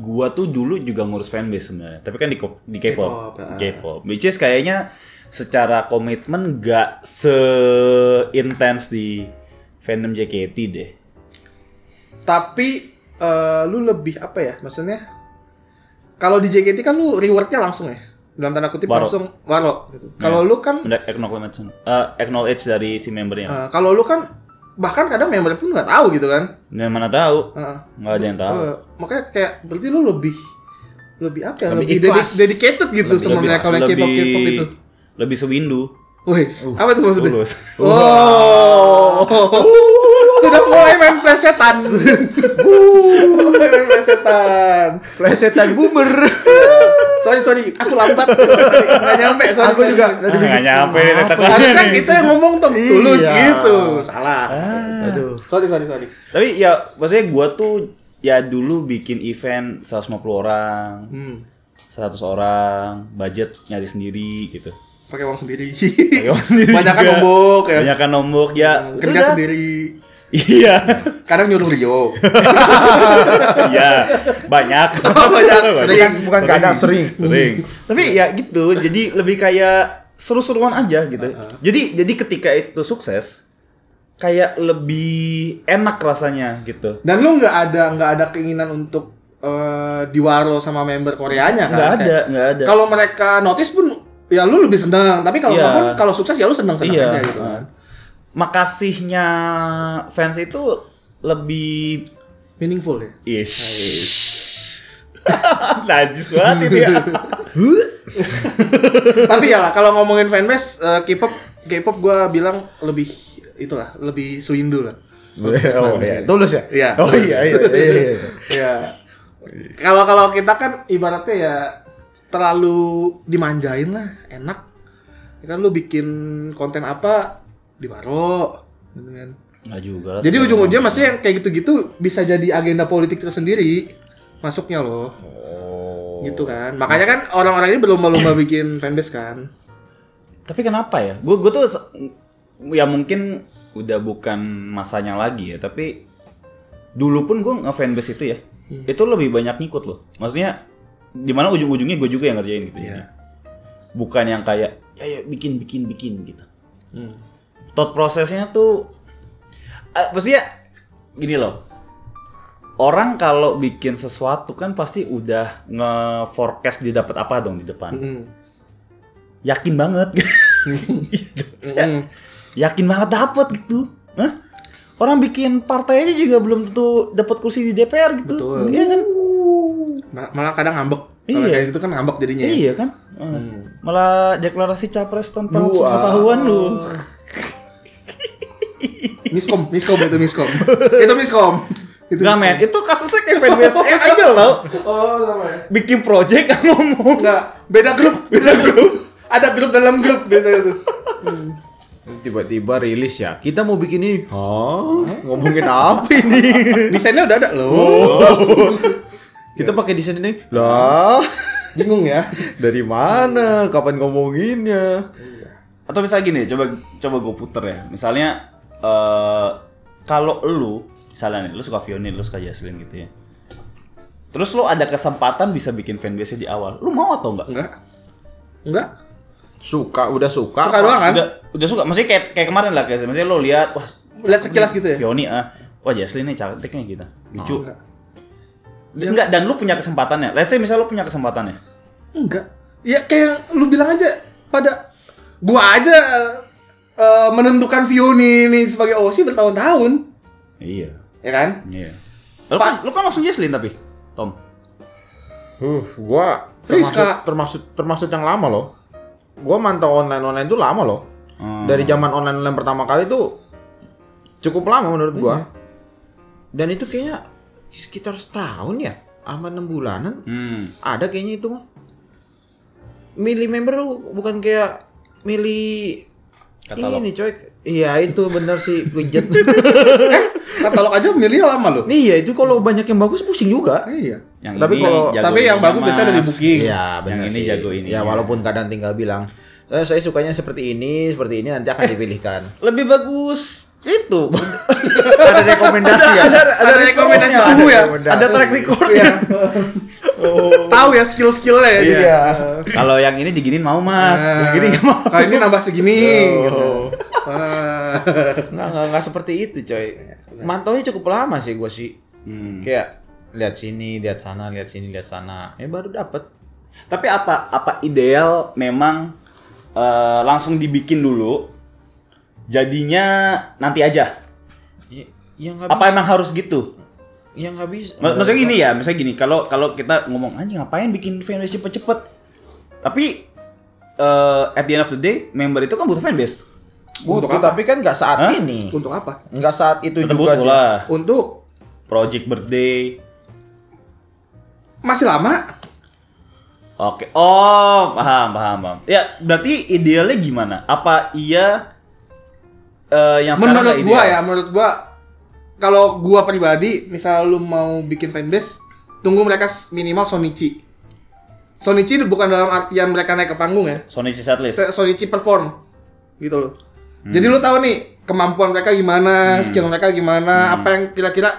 Speaker 1: gue tuh dulu juga ngurus fanbase sebenarnya, tapi kan di ko- di K-pop,
Speaker 2: K-pop, ah.
Speaker 1: K-pop, which is kayaknya secara komitmen nggak seintens di fandom JKT deh.
Speaker 2: tapi eh, lu lebih apa ya maksudnya kalau di JKT kan lu rewardnya langsung ya dalam tanda kutip
Speaker 1: Waro.
Speaker 2: langsung waro gitu.
Speaker 1: Hmm.
Speaker 2: kalau lu kan
Speaker 1: Mendapat acknowledge, eh, acknowledge dari si membernya.
Speaker 2: eh, kalau lu kan bahkan kadang member pun nggak tahu gitu kan
Speaker 1: Dan Nah, mana tahu,
Speaker 2: Heeh.
Speaker 1: nggak ada yang tahu.
Speaker 2: Eh, makanya kayak berarti lu lebih lebih apa ya
Speaker 3: Lebih
Speaker 2: lebih,
Speaker 3: ikhlas.
Speaker 2: dedi- dedicated gitu
Speaker 3: Lebih-
Speaker 2: sebenarnya
Speaker 3: lebih-
Speaker 2: kalau yang K-pop K-pop itu
Speaker 1: lebih sewindu.
Speaker 2: Wih, apa tuh maksudnya?
Speaker 1: Tulus.
Speaker 2: Oh, sudah mulai main plesetan. mulai main plesetan.
Speaker 3: plesetan boomer
Speaker 2: Sorry, sorry, aku lambat. Sorry, Nggak nyampe, sorry.
Speaker 3: Aku juga.
Speaker 1: Ah, nggak nyampe nih, tetap aja
Speaker 2: Harusnya kan
Speaker 1: nih.
Speaker 2: kita yang ngomong tuh tulus
Speaker 3: Iya.
Speaker 2: gitu. Salah. Ah.
Speaker 3: aduh
Speaker 2: Sorry, sorry, sorry.
Speaker 1: Tapi ya maksudnya gua tuh ya dulu bikin event 150 orang,
Speaker 2: Hmm.
Speaker 1: 100 orang, budget nyari sendiri gitu.
Speaker 2: Pakai uang sendiri.
Speaker 1: Banyak
Speaker 2: Banyakan nombok ya. Hmm,
Speaker 1: Banyak nombok ya.
Speaker 2: Kerja
Speaker 1: Udah.
Speaker 2: sendiri.
Speaker 1: Iya.
Speaker 2: Kadang nyuruh Rio.
Speaker 1: Iya. Banyak.
Speaker 2: Oh, Banyak. Sering. Hmm.
Speaker 3: bukan bukan kadang sering
Speaker 1: Sering. Tapi ya gitu, jadi lebih kayak seru-seruan aja gitu.
Speaker 2: Uh-huh.
Speaker 1: Jadi jadi ketika itu sukses kayak lebih enak rasanya gitu.
Speaker 2: Dan lu nggak ada nggak ada keinginan untuk eh, diwaro sama member Koreanya kan?
Speaker 1: Nggak ada,
Speaker 2: Kayak-
Speaker 1: nggak ada.
Speaker 2: Kalau mereka notice pun ya lu lebih seneng, tapi kalau
Speaker 1: Iya.
Speaker 2: nggak pun kalau sukses ya lu seneng-seneng
Speaker 1: Iya.
Speaker 2: aja gitu kan.
Speaker 1: makasihnya fans itu lebih
Speaker 2: Meaningful ya.
Speaker 1: ish. Najis banget ini ya.
Speaker 2: tapi ya lah kalau ngomongin fanbase eh, K-pop K-pop gua bilang lebih itulah, lebih swindu lah.
Speaker 3: oh, iya. tulus ya
Speaker 2: Iya,
Speaker 3: oh
Speaker 2: tulus.
Speaker 3: iya iya, iya, iya.
Speaker 2: Ya. Kalau kalau kita kan ibaratnya ya terlalu dimanjain lah, enak. Ya kan lu bikin konten apa diwaro gitu kan.
Speaker 1: Nggak juga. lah.
Speaker 2: Jadi ujung-ujungnya masih yang kayak gitu-gitu bisa jadi agenda politik tersendiri masuknya loh.
Speaker 1: Oh.
Speaker 3: Oh.
Speaker 2: Gitu kan. Makanya kan orang-orang ini berlomba-lomba bikin fanbase kan.
Speaker 1: Tapi kenapa ya? Gue gue tuh se- ya mungkin udah bukan masanya lagi ya, tapi dulu pun gue ngefanbase itu ya. Itu lebih banyak ngikut loh. Maksudnya dimana ujung-ujungnya gue juga yang ngerjain gitu ya. Bukan yang kayak ya ya bikin bikin bikin gitu. thought prosesnya tuh eh, maksudnya gini loh orang kalau bikin sesuatu kan pasti udah nge forecast dia dapat apa dong di depan
Speaker 2: Mm.
Speaker 1: yakin banget Gitu.
Speaker 2: Mm.
Speaker 1: yakin banget dapat gitu Hah? orang bikin partai aja juga belum tentu dapat kursi di DPR gitu
Speaker 2: Betul.
Speaker 1: iya kan
Speaker 2: Ma- Malah kadang ngambek. Kalau
Speaker 1: Iya.
Speaker 2: kayak gitu kan ngambek jadinya. ya.
Speaker 1: iya kan Eh, malah deklarasi capres tanpa
Speaker 3: Wah.
Speaker 1: pengetahuan lu
Speaker 2: Miskom, miskom itu miskom. itu miskom. Itu
Speaker 1: Gak
Speaker 2: miskom.
Speaker 1: men, itu kasusnya kayak fanbase aja tau
Speaker 2: Oh, sama ya.
Speaker 1: bikin project kan ngomong
Speaker 2: Enggak, beda grup, beda grup. Ada grup dalam grup biasanya tuh.
Speaker 3: tiba-tiba rilis ya kita mau bikin ini Hah? ngomongin apa ini
Speaker 2: Desainnya udah ada loh.
Speaker 1: Oh.
Speaker 3: kita pakai desain ini Iya. lah
Speaker 2: Bingung ya.
Speaker 3: dari mana kapan ngomonginnya
Speaker 1: atau misalnya gini coba coba gue puter ya misalnya eh kalau lu misalnya nih lu suka Vionil lu suka Jaslin gitu ya terus lu ada kesempatan bisa bikin fanbase di awal lu mau atau enggak
Speaker 2: Enggak. Enggak.
Speaker 3: suka udah suka
Speaker 2: Suka doang kan?
Speaker 1: udah udah suka maksudnya kayak kayak kemarin lah kayak misalnya lu lihat wah
Speaker 2: Lihat sekilas gitu ya.
Speaker 1: Vioni ah wah Jaslin nih cantiknya gitu lucu
Speaker 2: Oh, enggak.
Speaker 1: enggak dan lu punya kesempatannya let's say misalnya lu punya kesempatannya
Speaker 2: Enggak. Ya kayak yang lu bilang aja pada gua aja eh, menentukan Vioni ini sebagai OC bertahun-tahun,
Speaker 1: iya
Speaker 2: ya kan?
Speaker 1: iya lu kan, lu kan langsung Jaslin tapi Tom
Speaker 3: Huh, gua
Speaker 2: Friska.
Speaker 3: termasuk termasuk termasuk yang lama loh. gua mantau online online tuh lama loh.
Speaker 1: Hmm.
Speaker 3: Dari zaman online online pertama kali tuh cukup lama menurut gua.
Speaker 1: Hmm.
Speaker 3: Dan itu kayaknya sekitar setahun ya, sama enam bulanan
Speaker 1: Hmm.
Speaker 3: ada kayaknya itu mah. Milih member tuh bukan kayak milih
Speaker 1: Katalog.
Speaker 3: ini coy. Iya itu bener sih widget.
Speaker 2: Katalog aja milih lama loh.
Speaker 3: iya itu kalau banyak yang bagus pusing juga.
Speaker 2: Iya.
Speaker 1: Yang
Speaker 3: Tapi
Speaker 1: ini
Speaker 3: kalau-
Speaker 1: jago
Speaker 2: Tapi yang
Speaker 1: ini,
Speaker 2: bagus
Speaker 1: Mas.
Speaker 2: biasanya ada di booking.
Speaker 3: Iya bener
Speaker 1: Yang ini
Speaker 3: sih.
Speaker 1: jago ini.
Speaker 3: Ya
Speaker 1: Iya.
Speaker 3: walaupun kadang tinggal bilang "Eh, saya sukanya seperti ini, seperti ini nanti akan dipilihkan.
Speaker 1: Lebih bagus
Speaker 3: itu ada rekomendasi ya.
Speaker 2: Ada rekomendasi suhu ya.
Speaker 3: rekomendasi.
Speaker 2: Ada track record ya. Tahu ya skill-skillnya ya. jadi
Speaker 3: Oh. Iya.
Speaker 2: ya.
Speaker 1: Kalau yang ini diginin mau mas,
Speaker 2: Nah,
Speaker 1: yang ini nggak mau.
Speaker 2: Kalau ini nambah segini.
Speaker 3: Oh.
Speaker 2: gitu. Ah.
Speaker 3: Nggak, nggak, nggak seperti itu coy. Mantaunya cukup lama sih gue sih.
Speaker 1: Hmm.
Speaker 3: Kayak lihat sini, lihat sana, lihat sini, lihat sana. Eh baru dapet.
Speaker 1: Tapi apa apa ideal memang eh, langsung dibikin dulu. Jadinya nanti aja.
Speaker 3: Ya, yang nggak
Speaker 1: Apa
Speaker 3: bisa.
Speaker 1: emang harus gitu?
Speaker 3: Yang nggak bisa.
Speaker 2: Iya,
Speaker 1: Ma- Maksudnya gini ya, misalnya gini, kalau kalau kita ngomong anjing ngapain bikin fanbase cepet-cepet. Tapi eh, at the end of the day, member itu kan butuh fanbase.
Speaker 3: Butuh,
Speaker 2: Untuk apa?
Speaker 3: tapi kan nggak saat
Speaker 1: Hah?
Speaker 3: ini.
Speaker 2: Untuk apa?
Speaker 3: Nggak saat itu
Speaker 1: Tetap
Speaker 3: juga.
Speaker 1: butuh
Speaker 3: dia.
Speaker 1: lah.
Speaker 2: Untuk
Speaker 1: Project birthday.
Speaker 2: masih lama.
Speaker 1: Oke. Oh, paham, paham, paham. Ya, berarti idealnya gimana? Apa iya eh, yang sekarang
Speaker 2: menurut
Speaker 1: nggak
Speaker 2: gua
Speaker 1: ideal?
Speaker 2: ya, menurut gua kalau gua pribadi, misal lu mau bikin fanbase, tunggu mereka s- minimal Sonichi. Sonichi bukan dalam artian mereka naik ke panggung ya.
Speaker 1: Sony Setlist.
Speaker 2: Se- Sonichi perform gitu loh. Jadi
Speaker 3: Hmm.
Speaker 2: lu tahu nih kemampuan mereka gimana, skill mereka gimana,
Speaker 3: Hmm.
Speaker 2: apa yang kira-kira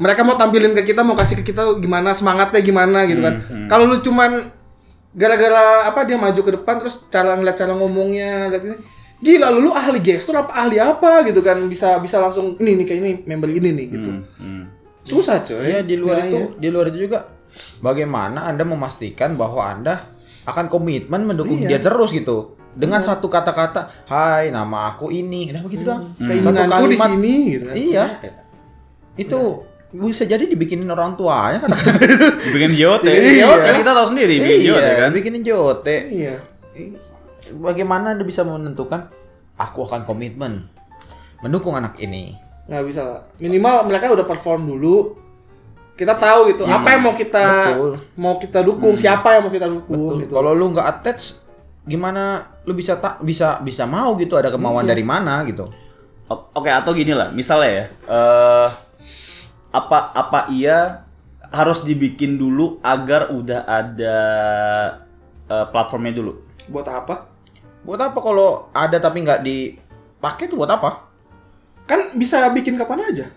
Speaker 2: mereka mau tampilin ke kita, mau kasih ke kita gimana, semangatnya gimana gitu kan.
Speaker 3: Hmm,
Speaker 2: Kalau lu cuman gara-gara apa dia maju ke depan terus cara ngeliat cara ngomongnya liat ini gila lu, lu ahli gestur apa ahli apa gitu kan bisa bisa langsung ini nih kayak ini member ini nih gitu
Speaker 1: Hmm, hmm.
Speaker 2: susah coy
Speaker 3: Iya di luar
Speaker 2: Nah,
Speaker 3: itu,
Speaker 2: iya.
Speaker 3: di luar itu juga bagaimana Anda memastikan bahwa Anda akan komitmen mendukung
Speaker 2: Iya.
Speaker 3: dia terus gitu. Dengan satu kata-kata, "Hai, nama aku ini."
Speaker 2: Iya,
Speaker 3: Nah, begitu doang. Satu
Speaker 2: gitu keinginanku di
Speaker 3: kalimat.
Speaker 2: sini gitu kan.
Speaker 3: Iya. Itu bisa jadi dibikinin orang tuanya kan.
Speaker 1: Dibikin JOT.
Speaker 2: Dibikin JOT.
Speaker 1: Kan kita tahu sendiri bikin JOT ya kan.
Speaker 3: bikinin Iya, jote.
Speaker 2: iya
Speaker 3: Bagaimana Anda bisa menentukan aku akan komitmen mendukung anak ini?
Speaker 2: nggak bisa lah. minimal mereka udah perform dulu kita tahu gitu apa yang mau kita
Speaker 3: Iya, betul. Hmm.
Speaker 2: mau kita dukung siapa yang mau kita dukung
Speaker 3: Betul.
Speaker 2: gitu
Speaker 3: Kalau lu nggak attach gimana lu bisa tak bisa bisa mau gitu ada kemauan
Speaker 2: Iya.
Speaker 3: dari mana gitu.
Speaker 1: O- Oke, atau gini lah, misalnya ya. eh, apa apa iya harus dibikin dulu agar udah ada eh, platformnya dulu.
Speaker 2: buat apa
Speaker 3: Buat apa kalau ada tapi nggak dipakai tuh buat apa?
Speaker 2: kan bisa bikin kapan aja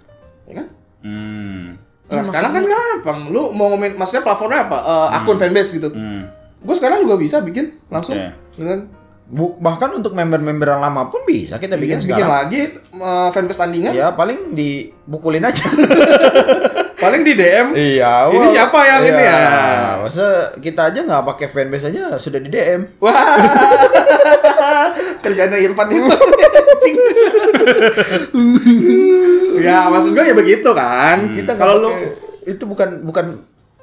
Speaker 2: ya kan
Speaker 1: Hmm.
Speaker 2: Nah,
Speaker 3: Iya,
Speaker 2: sekarang kan gampang lu mau ngomongin maksudnya platformnya apa Eh, akun fanbase gitu
Speaker 1: Hmm.
Speaker 2: gue sekarang juga bisa bikin langsung ya kan?
Speaker 1: Oke.
Speaker 2: dengan
Speaker 3: Bu- bahkan untuk member-member yang lama pun bisa kita bikin
Speaker 2: bikin, Iya, bikin
Speaker 3: sekarang.
Speaker 2: lagi eh, fanbase tandingan
Speaker 3: Ya paling dibukulin aja.
Speaker 2: paling di DM
Speaker 3: iya.
Speaker 2: Ini siapa yang ini ya?
Speaker 3: Masa kita aja nggak pakai fanbase aja sudah di DM.
Speaker 2: Wah, kerjaan Irfan itu. ya maksud gue ya begitu kan.
Speaker 3: Kita nggak
Speaker 2: kalau lu
Speaker 3: pakai- itu bukan bukan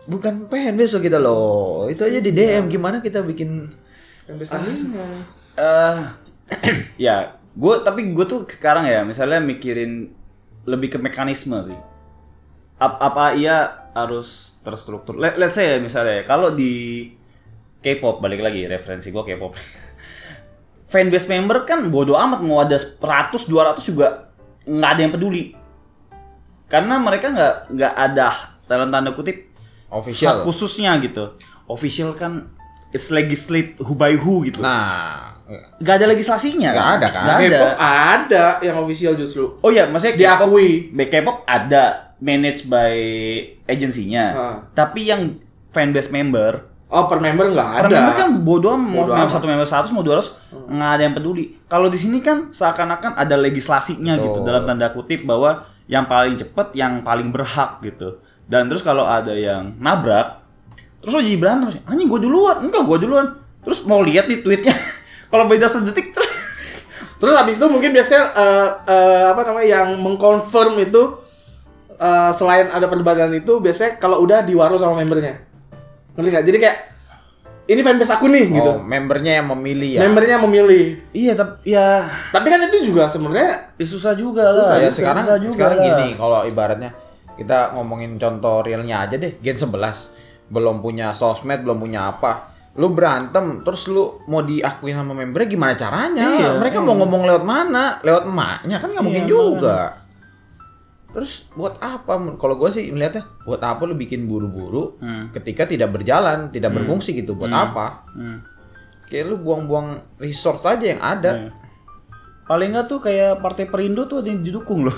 Speaker 3: bukan fanbase loh kita loh. Itu aja di
Speaker 2: Iya.
Speaker 3: DM gimana kita bikin
Speaker 1: eh ya, gue tapi gue tuh sekarang ya, misalnya mikirin lebih ke mekanisme sih. Ap- apa iya harus terstruktur? Let, let's say ya, misalnya, kalau di K-pop balik lagi referensi gue K-pop. Fanbase member kan bodoh amat mau ada 100 200 juga nggak ada yang peduli. Karena mereka nggak nggak ada dalam tanda kutip hak
Speaker 3: official.
Speaker 1: khususnya gitu. Official kan it's legislate who by who gitu
Speaker 3: Nah,
Speaker 1: gak ada legislasinya
Speaker 3: Nggak ada, kan?
Speaker 1: Nggak ada.
Speaker 2: K-pop ada yang official justru
Speaker 1: oh iya maksudnya K-pop-
Speaker 2: diakui.
Speaker 1: K-pop ada managed by agensinya
Speaker 2: Ah.
Speaker 1: tapi yang fanbase member
Speaker 2: Oh per member nggak
Speaker 1: per
Speaker 2: ada.
Speaker 1: member kan bodoh mau
Speaker 2: Bodo
Speaker 1: member
Speaker 2: amat.
Speaker 1: satu member satu mau dua ratus nggak ada yang peduli kalau di sini kan seakan-akan ada legislasinya gitu
Speaker 3: Betul.
Speaker 1: dalam tanda kutip bahwa yang paling cepet yang paling berhak gitu dan terus kalau ada yang nabrak terus lo jadi berantem anjing gue duluan enggak gue duluan terus mau lihat di tweetnya kalau beda sedetik terus
Speaker 2: Terus habis itu mungkin biasanya eh, eh, apa namanya yang mengkonfirm itu eh, selain ada perdebatan itu biasanya kalau udah diwaro sama membernya. Ngerti nggak? Jadi kayak ini fanbase aku nih gitu.
Speaker 3: Oh, membernya yang memilih ya.
Speaker 2: Membernya memilih.
Speaker 1: Iya, tapi ya
Speaker 2: Tapi kan itu juga sebenarnya
Speaker 1: ya susah juga lah.
Speaker 3: Susah ya
Speaker 1: Susah
Speaker 3: sekarang
Speaker 1: susah juga
Speaker 3: sekarang
Speaker 1: lah.
Speaker 3: gini kalau ibaratnya kita ngomongin contoh realnya aja deh Gen 11 belum punya sosmed belum punya apa lu berantem terus lu mau diakuin sama membernya gimana caranya
Speaker 1: Iya,
Speaker 3: mereka mau ngomong lewat mana lewat emaknya kan nggak
Speaker 1: Iya,
Speaker 3: mungkin juga terus buat apa kalau gue sih melihatnya buat apa lu bikin buru-buru
Speaker 1: Hmm.
Speaker 3: ketika tidak berjalan tidak berfungsi gitu buat apa
Speaker 1: Hmm.
Speaker 3: kayak lu buang-buang resource aja yang
Speaker 1: iya.
Speaker 3: ada
Speaker 1: Paling nggak tuh kayak Partai Perindo tuh ada yang didukung loh.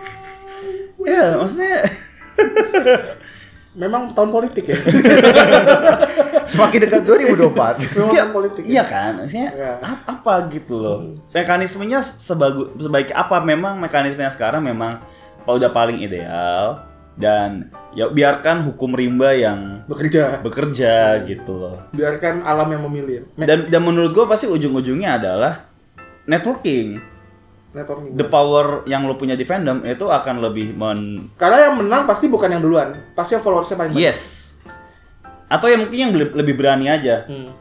Speaker 1: ya, maksudnya
Speaker 2: memang tahun politik ya.
Speaker 3: semakin dekat
Speaker 2: memang
Speaker 3: 2024
Speaker 1: Iya,
Speaker 2: tahun politik.
Speaker 1: Iya kan, maksudnya
Speaker 2: Iya.
Speaker 1: ap- apa gitu loh. Mekanismenya sebagu, sebaik apa memang mekanismenya sekarang memang udah paling ideal dan ya biarkan hukum rimba yang
Speaker 2: Bekerja.
Speaker 1: bekerja gitu loh.
Speaker 2: Biarkan alam yang memilih. Me-
Speaker 1: Dan dan menurut gua pasti ujung-ujungnya adalah networking.
Speaker 2: networking.
Speaker 1: The power yang lo punya di fandom itu akan lebih men
Speaker 2: Karena yang menang pasti bukan yang duluan, pasti yang followersnya paling banyak.
Speaker 1: yes. Atau ya mungkin yang beli- lebih berani aja.
Speaker 2: Hmm,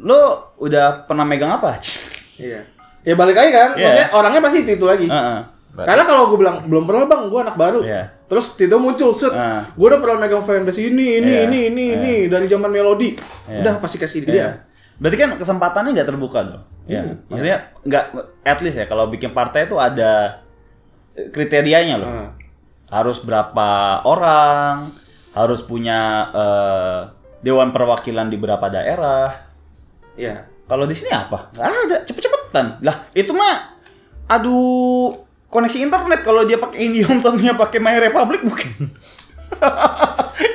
Speaker 1: Lo udah pernah megang apa?
Speaker 2: Iya. Ya balik lagi kan,
Speaker 1: Iya.
Speaker 2: maksudnya orangnya pasti itu itu lagi.
Speaker 1: Heeh.
Speaker 2: Karena kalau gue bilang belum pernah bang, gue anak baru.
Speaker 1: Iya.
Speaker 2: Terus Tito muncul, set.
Speaker 1: Ah.
Speaker 2: Gue udah pernah megang fanbase ini, ini,
Speaker 1: Iya.
Speaker 2: ini, ini, ini dari zaman melodi.
Speaker 1: Iya.
Speaker 2: Udah pasti kasih ke dia.
Speaker 1: Iya. Berarti kan kesempatannya nggak terbuka dong. Iya. Maksudnya nggak at least ya kalau bikin partai itu ada eh, kriterianya loh.
Speaker 2: Ah.
Speaker 1: Harus berapa orang, harus punya eh, dewan perwakilan di berapa daerah.
Speaker 2: Iya.
Speaker 1: Kalau di sini apa? Nggak ada, cepet-cepetan. Lah, itu mah aduh koneksi internet kalau dia pakai IndiHome satunya pakai My Republic bukan.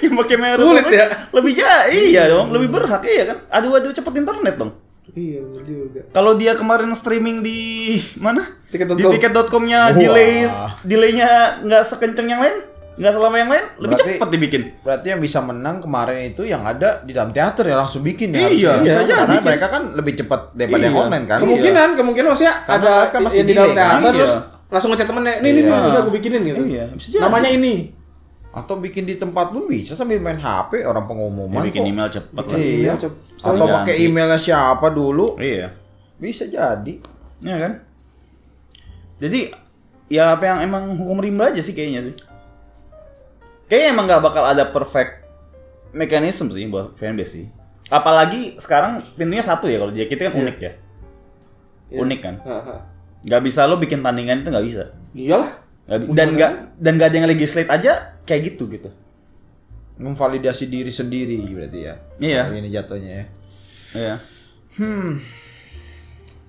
Speaker 1: yang pakai My
Speaker 2: Sulit
Speaker 1: Republic
Speaker 2: ya.
Speaker 1: lebih ja iya dong, lebih berhak iya kan. Aduh aduh cepet internet dong.
Speaker 2: Iya, bener juga.
Speaker 1: Kalau dia kemarin streaming di mana?
Speaker 2: Tiket.com.
Speaker 1: Di tiket.com-nya
Speaker 3: Wah.
Speaker 1: delays, delay-nya nggak sekenceng yang lain, nggak selama yang lain, lebih
Speaker 3: Berarti-
Speaker 1: cepat dibikin.
Speaker 3: Berarti yang bisa menang kemarin itu yang ada di dalam teater ya langsung bikin ya.
Speaker 1: Iya,
Speaker 3: harusnya.
Speaker 1: bisa
Speaker 3: Karena
Speaker 1: jadi.
Speaker 3: mereka kan lebih cepat daripada yang
Speaker 1: Iya.
Speaker 3: online kan.
Speaker 2: Kemungkinan, kemungkinan maksudnya
Speaker 3: Karena
Speaker 2: ada
Speaker 3: kan masih
Speaker 2: yang di dalam
Speaker 3: delay kan?
Speaker 2: teater,
Speaker 1: Iya.
Speaker 2: terus langsung ngechat temennya, nih, nih,
Speaker 3: Iya.
Speaker 2: nih, udah gue bikinin gitu.
Speaker 1: Iya, bisa jadi.
Speaker 2: Namanya ini.
Speaker 3: Atau bikin di tempat pun bisa sambil main HP
Speaker 1: Ya,
Speaker 3: orang pengumuman
Speaker 1: bikin
Speaker 3: kok.
Speaker 1: email cepat lah.
Speaker 3: Iya.
Speaker 2: Iya, cep-
Speaker 3: Atau
Speaker 1: Soalnya-
Speaker 3: pakai emailnya siapa dulu
Speaker 1: Iya.
Speaker 3: bisa jadi.
Speaker 1: Iya kan? Jadi ya apa yang emang hukum rimba aja sih kayaknya sih. Kayaknya emang nggak bakal ada perfect mekanisme sih buat fanbase sih. Apalagi sekarang pintunya satu ya kalau JKT kan unik ya.
Speaker 2: Iya.
Speaker 1: Unik kan?
Speaker 2: Heeh.
Speaker 1: Nggak bisa lo bikin tandingan itu nggak bisa.
Speaker 2: Iyalah.
Speaker 1: Nggak bi- dan nggak dan nggak ada yang legislate aja kayak gitu gitu.
Speaker 3: Memvalidasi diri sendiri berarti ya.
Speaker 1: Iya.
Speaker 3: Kayak Ini jatuhnya ya.
Speaker 1: Iya.
Speaker 3: Hmm.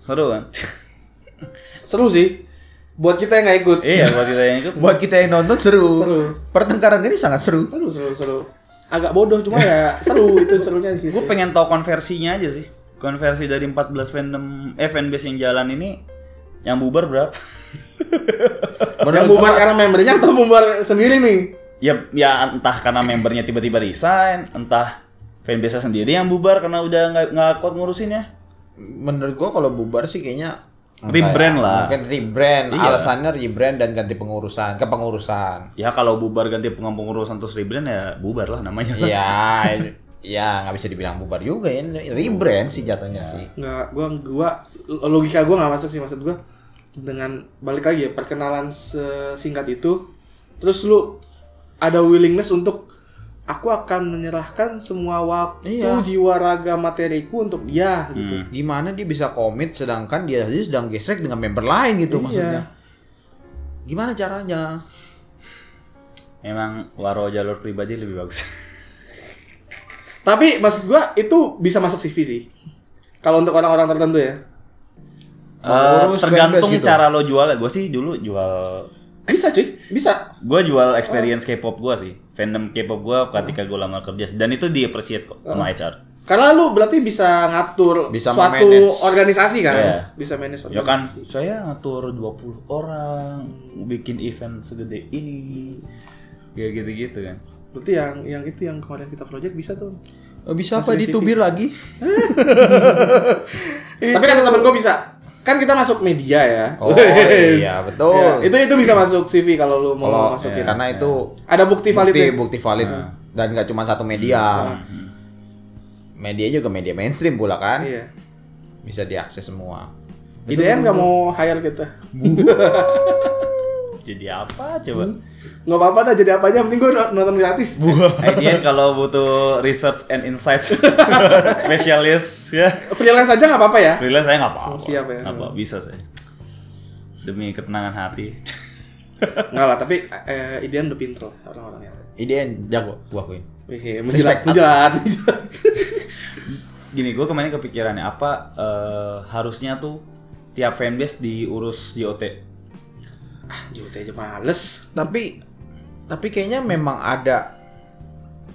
Speaker 1: Seru kan?
Speaker 2: Seru sih. Buat kita yang nggak ikut.
Speaker 1: iya buat kita yang itu.
Speaker 3: Buat kita yang nonton seru.
Speaker 2: Seru.
Speaker 3: Pertengkaran ini sangat seru.
Speaker 2: Seru, seru, seru. Agak bodoh cuma ya seru itu serunya di situ.
Speaker 1: Gue pengen tahu konversinya aja sih. Konversi dari 14 fandom eh fanbase yang jalan ini yang bubar berapa?
Speaker 2: Yang
Speaker 3: Menurut
Speaker 2: bubar
Speaker 3: gua-
Speaker 2: karena membernya atau bubar sendiri nih?
Speaker 1: ya ya entah karena membernya tiba-tiba resign, entah fanbase sendiri yang bubar karena udah nggak nggak kuat ngurusinnya.
Speaker 3: menurut gua kalau bubar sih kayaknya ya.
Speaker 1: Rebrand lah.
Speaker 3: Mungkin rebrand,
Speaker 1: Iya.
Speaker 3: alasannya rebrand dan ganti pengurusan, kepengurusan.
Speaker 1: Ya kalau bubar ganti pengurusan terus rebrand ya bubar lah namanya.
Speaker 3: Iya, ya nggak bisa dibilang bubar juga ya. Rebrand sih jatuhnya
Speaker 2: Iya.
Speaker 3: sih.
Speaker 2: Nggak, gua gua logika gua nggak masuk sih maksud gua. Dengan balik lagi ya perkenalan singkat itu, terus lu ada willingness untuk aku akan menyerahkan semua waktu,
Speaker 3: Iya.
Speaker 2: jiwa, raga, materiku untuk dia gitu.
Speaker 1: Hmm.
Speaker 3: Gimana dia bisa komit sedangkan dia aja sedang gesrek dengan member lain
Speaker 2: Iya.
Speaker 3: gitu maksudnya. Gimana caranya?
Speaker 1: Emang waro jalur pribadi lebih bagus.
Speaker 2: Tapi maksud gua itu bisa masuk CV sih. Kalau untuk orang-orang tertentu ya.
Speaker 1: Eh
Speaker 3: Mengurus
Speaker 1: tergantung
Speaker 3: fanbase gitu.
Speaker 1: cara lo jual. Gue sih dulu jual
Speaker 2: Bisa cuy, bisa.
Speaker 1: gue jual experience K-pop gue sih fandom K-pop gue ketika gue lama kerja dan itu di appreciate kok
Speaker 3: Oh.
Speaker 1: sama HR
Speaker 2: Karena lu berarti bisa ngatur
Speaker 3: Bisa
Speaker 2: suatu
Speaker 3: memanage.
Speaker 2: organisasi kan?
Speaker 1: Iya.
Speaker 2: Bisa manage
Speaker 1: ya kan
Speaker 2: organisasi.
Speaker 1: saya ngatur 20 orang bikin event segede ini kayak gitu-gitu kan
Speaker 2: Berarti yang yang itu yang kemarin kita project bisa tuh.
Speaker 3: Eh, Bisa apa
Speaker 2: Masuk di
Speaker 3: ditubir lagi?
Speaker 2: Tapi kata temen gua bisa. Kan kita masuk media ya.
Speaker 3: Oh
Speaker 2: Wes. Ya,
Speaker 3: iya betul.
Speaker 2: itu itu bisa masuk CV kalau lu mau
Speaker 3: kalau iya,
Speaker 2: masukin.
Speaker 3: karena itu
Speaker 2: Ada bukti ya? Nah.
Speaker 3: bukti
Speaker 2: validnya. Nah.
Speaker 3: bukti valid dan nggak cuma satu media. media juga media mainstream pula kan
Speaker 2: Iya.
Speaker 3: bisa diakses semua
Speaker 2: IDN nggak mau hire kita.
Speaker 1: Jadi apa coba?
Speaker 2: Nggak apa-apa dah jadi apa aja, yang penting gue nonton gratis.
Speaker 1: IDN kalau butuh research and insights spesialis ya.
Speaker 2: Freelance aja nggak apa-apa ya.
Speaker 1: Freelance saya nggak apa-apa.
Speaker 2: Siap ya.
Speaker 1: Nggak apa bisa saya. Demi ketenangan hati.
Speaker 2: Nggak lah, tapi eh, IDN udah pinter lah orang-orangnya.
Speaker 3: IDN jago gua akuin
Speaker 2: Wih, iya, menjelat,
Speaker 3: Respect.
Speaker 2: menjelat, menjelat.
Speaker 1: Gini, gue kemarin kepikiran ya, apa eh, harusnya tuh tiap fanbase diurus JOT.
Speaker 2: Jute aja males.
Speaker 3: tapi tapi kayaknya memang ada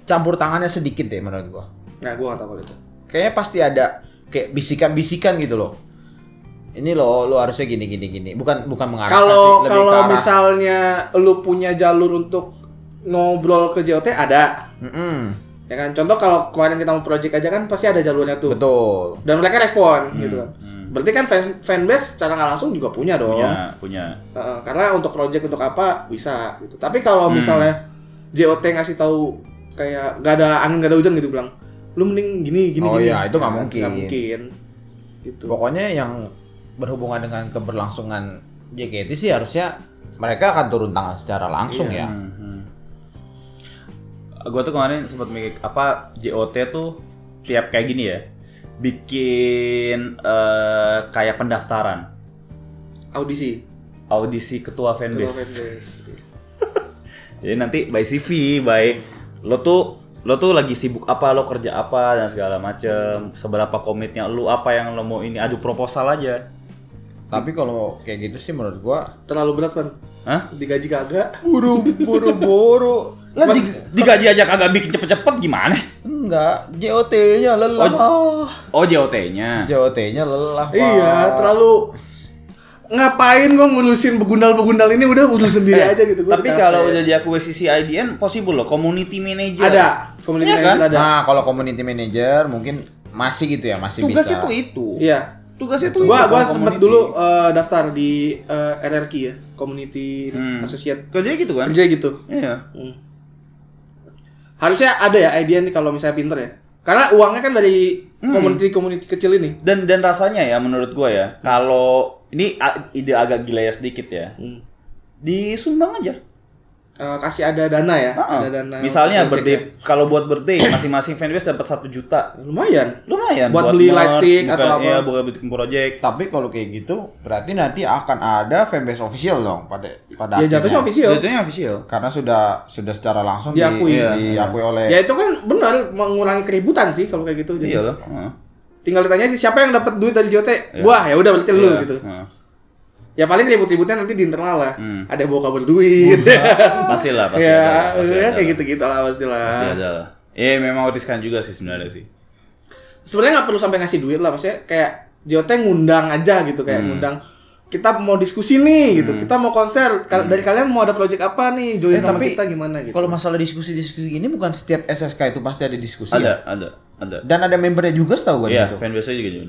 Speaker 3: campur tangannya sedikit deh menurut gua
Speaker 2: Nah, gue nggak tahu kalau itu.
Speaker 3: kayaknya pasti ada kayak bisikan-bisikan gitu loh ini loh lo harusnya gini gini gini bukan bukan mengarah
Speaker 2: Kalau
Speaker 3: sih, lebih ke
Speaker 2: kalau
Speaker 3: arah-
Speaker 2: misalnya lu punya jalur untuk ngobrol ke JOT ada.
Speaker 3: Mm-mm,
Speaker 2: Ya kan? Contoh kalau kemarin kita mau project aja kan pasti ada jalurnya tuh.
Speaker 3: betul
Speaker 2: Dan mereka respon gitu kan.
Speaker 1: Hmm.
Speaker 2: Berarti kan fan fanbase secara nggak langsung juga punya dong.
Speaker 1: Punya, punya.
Speaker 2: Heeh, karena untuk project untuk apa bisa gitu. Tapi kalau
Speaker 1: Hmm.
Speaker 2: misalnya JOT ngasih tahu kayak gak ada angin gak ada hujan gitu bilang, lu mending gini gini
Speaker 3: Oh
Speaker 2: gini.
Speaker 3: iya, itu nggak
Speaker 2: Ya,
Speaker 3: mungkin.
Speaker 2: nggak mungkin. Gitu.
Speaker 3: pokoknya yang berhubungan dengan keberlangsungan JKT sih harusnya mereka akan turun tangan secara langsung
Speaker 2: Iya.
Speaker 3: ya
Speaker 1: Hmm, hmm. Gue tuh kemarin sempat mikir apa JOT tuh tiap kayak gini ya, bikin eh, kayak pendaftaran
Speaker 2: Audisi.
Speaker 1: audisi ketua
Speaker 2: Ketua
Speaker 1: fanbase.
Speaker 2: fanbase.
Speaker 1: Jadi nanti by CV, by lo tuh lo tuh lagi sibuk apa, lo kerja apa dan segala macem. Seberapa komitnya lo apa yang lo mau ini adu proposal aja.
Speaker 3: tapi kalau kayak gitu sih menurut gua
Speaker 2: Terlalu berat kan?
Speaker 1: Hah?
Speaker 2: Digaji kagak?
Speaker 3: buru buru buru lah
Speaker 1: Mas,
Speaker 3: di-
Speaker 1: digaji aja kagak bikin cepet-cepet gimana?
Speaker 3: enggak JOT-nya lelah
Speaker 1: Oh JOT-nya.
Speaker 3: JOT-nya lelah Pak.
Speaker 2: Iya, terlalu ngapain gua ngurusin begundal-begundal ini udah urus sendiri aja gitu.
Speaker 1: Eh,
Speaker 2: Gua
Speaker 1: Tapi
Speaker 2: udah capek.
Speaker 1: kalau udah di akuisisi IDN possible loh, community manager.
Speaker 2: ada community
Speaker 1: Iya kan?
Speaker 2: manager ada.
Speaker 3: nah kalau community manager mungkin masih gitu ya masih
Speaker 1: Tugas
Speaker 3: bisa
Speaker 1: itu itu.
Speaker 2: Iya.
Speaker 1: Tugas itu
Speaker 2: Gua
Speaker 1: itu,
Speaker 2: gua
Speaker 1: kalau
Speaker 2: sempet
Speaker 1: community.
Speaker 2: dulu eh, daftar di eh, RRQ ya, Community
Speaker 1: Hmm.
Speaker 2: Associate
Speaker 1: Kerjanya gitu kan?
Speaker 2: kerja gitu.
Speaker 1: Iya.
Speaker 2: Hmm. Harusnya ada ya idea nih kalau misalnya pinter ya. Karena uangnya kan dari
Speaker 1: Hmm.
Speaker 2: community-community kecil ini.
Speaker 1: Dan dan rasanya ya menurut gua ya, kalau ini a- ide agak gila ya sedikit ya.
Speaker 2: Hmm.
Speaker 1: Disumbang aja.
Speaker 2: Eh, kasih ada dana ya,
Speaker 1: Ah,
Speaker 2: ada dana.
Speaker 1: Misalnya
Speaker 2: untuk project
Speaker 1: birthday, kalau buat birthday masing-masing fanbase dapat satu juta.
Speaker 2: ya. Lumayan.
Speaker 1: Lumayan
Speaker 2: Buat beli light stick
Speaker 1: bukan-
Speaker 2: atau apa.
Speaker 1: Iya, buat bikin project.
Speaker 3: tapi kalau kayak gitu berarti nanti akan ada fanbase official dong pada pada
Speaker 2: Ya jatuhnya
Speaker 3: akhirnya.
Speaker 2: official.
Speaker 1: Jatuhnya official.
Speaker 3: karena sudah sudah secara langsung di-
Speaker 2: Diakui.
Speaker 3: di-
Speaker 2: Iya,
Speaker 3: diakui oleh
Speaker 2: Ya itu kan benar mengurangi keributan sih kalau kayak gitu.
Speaker 1: Iya
Speaker 2: Jadi
Speaker 1: loh. Heeh.
Speaker 2: Tinggal ditanya aja siapa yang dapat duit dari JOT? Gua, ya udah berarti lu
Speaker 1: Iya,
Speaker 2: gitu.
Speaker 1: heeh.
Speaker 2: Ya paling ribut-ributnya nanti di internal lah.
Speaker 1: Hmm.
Speaker 2: Ada yang bawa kabel duit.
Speaker 1: Pastilah, pasti
Speaker 2: ya,
Speaker 1: ada, pasti
Speaker 2: ya
Speaker 1: ada.
Speaker 2: kayak gitu-gitu lah
Speaker 1: Pasti
Speaker 2: pastilah.
Speaker 1: ada lah. Iya, memang riskan juga sih sebenarnya sih.
Speaker 2: Sebenarnya nggak perlu sampai ngasih duit lah, maksudnya kayak JOT ngundang aja gitu,
Speaker 1: Hmm.
Speaker 2: kayak ngundang kita mau diskusi nih gitu, kita mau konser. Kal- Dari
Speaker 1: Hmm.
Speaker 2: kalian mau ada project apa nih? Join
Speaker 3: Eh,
Speaker 2: sama
Speaker 3: tapi
Speaker 2: kita gimana gitu.
Speaker 3: kalau masalah diskusi-diskusi gini bukan setiap SSK itu pasti ada diskusi
Speaker 1: Ada,
Speaker 3: ya?
Speaker 1: ada, ada.
Speaker 3: dan ada membernya juga setahu gue
Speaker 1: Iya,
Speaker 3: gitu
Speaker 1: fanbase juga gitu.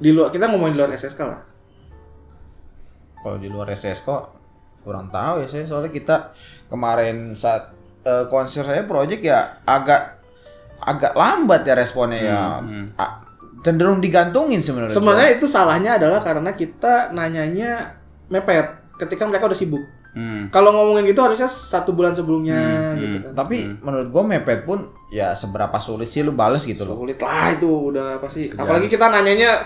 Speaker 2: Di luar kita ngomongin di luar SSK lah.
Speaker 3: kalau di luar SS kok kurang tahu ya saya soalnya kita kemarin saat eh, konser saya project ya agak agak lambat ya responnya ya A- cenderung digantungin sebenarnya
Speaker 2: Hmm, Sebenarnya itu salahnya adalah karena kita nanyanya mepet ketika mereka udah sibuk.
Speaker 1: Hmm.
Speaker 2: Kalau ngomongin gitu harusnya satu bulan sebelumnya
Speaker 1: Hmm,
Speaker 2: gitu kan.
Speaker 3: tapi menurut gue mepet pun ya seberapa sulit sih lu bales gitu loh
Speaker 2: Sulit lah itu udah pasti. Apalagi kita nanyanya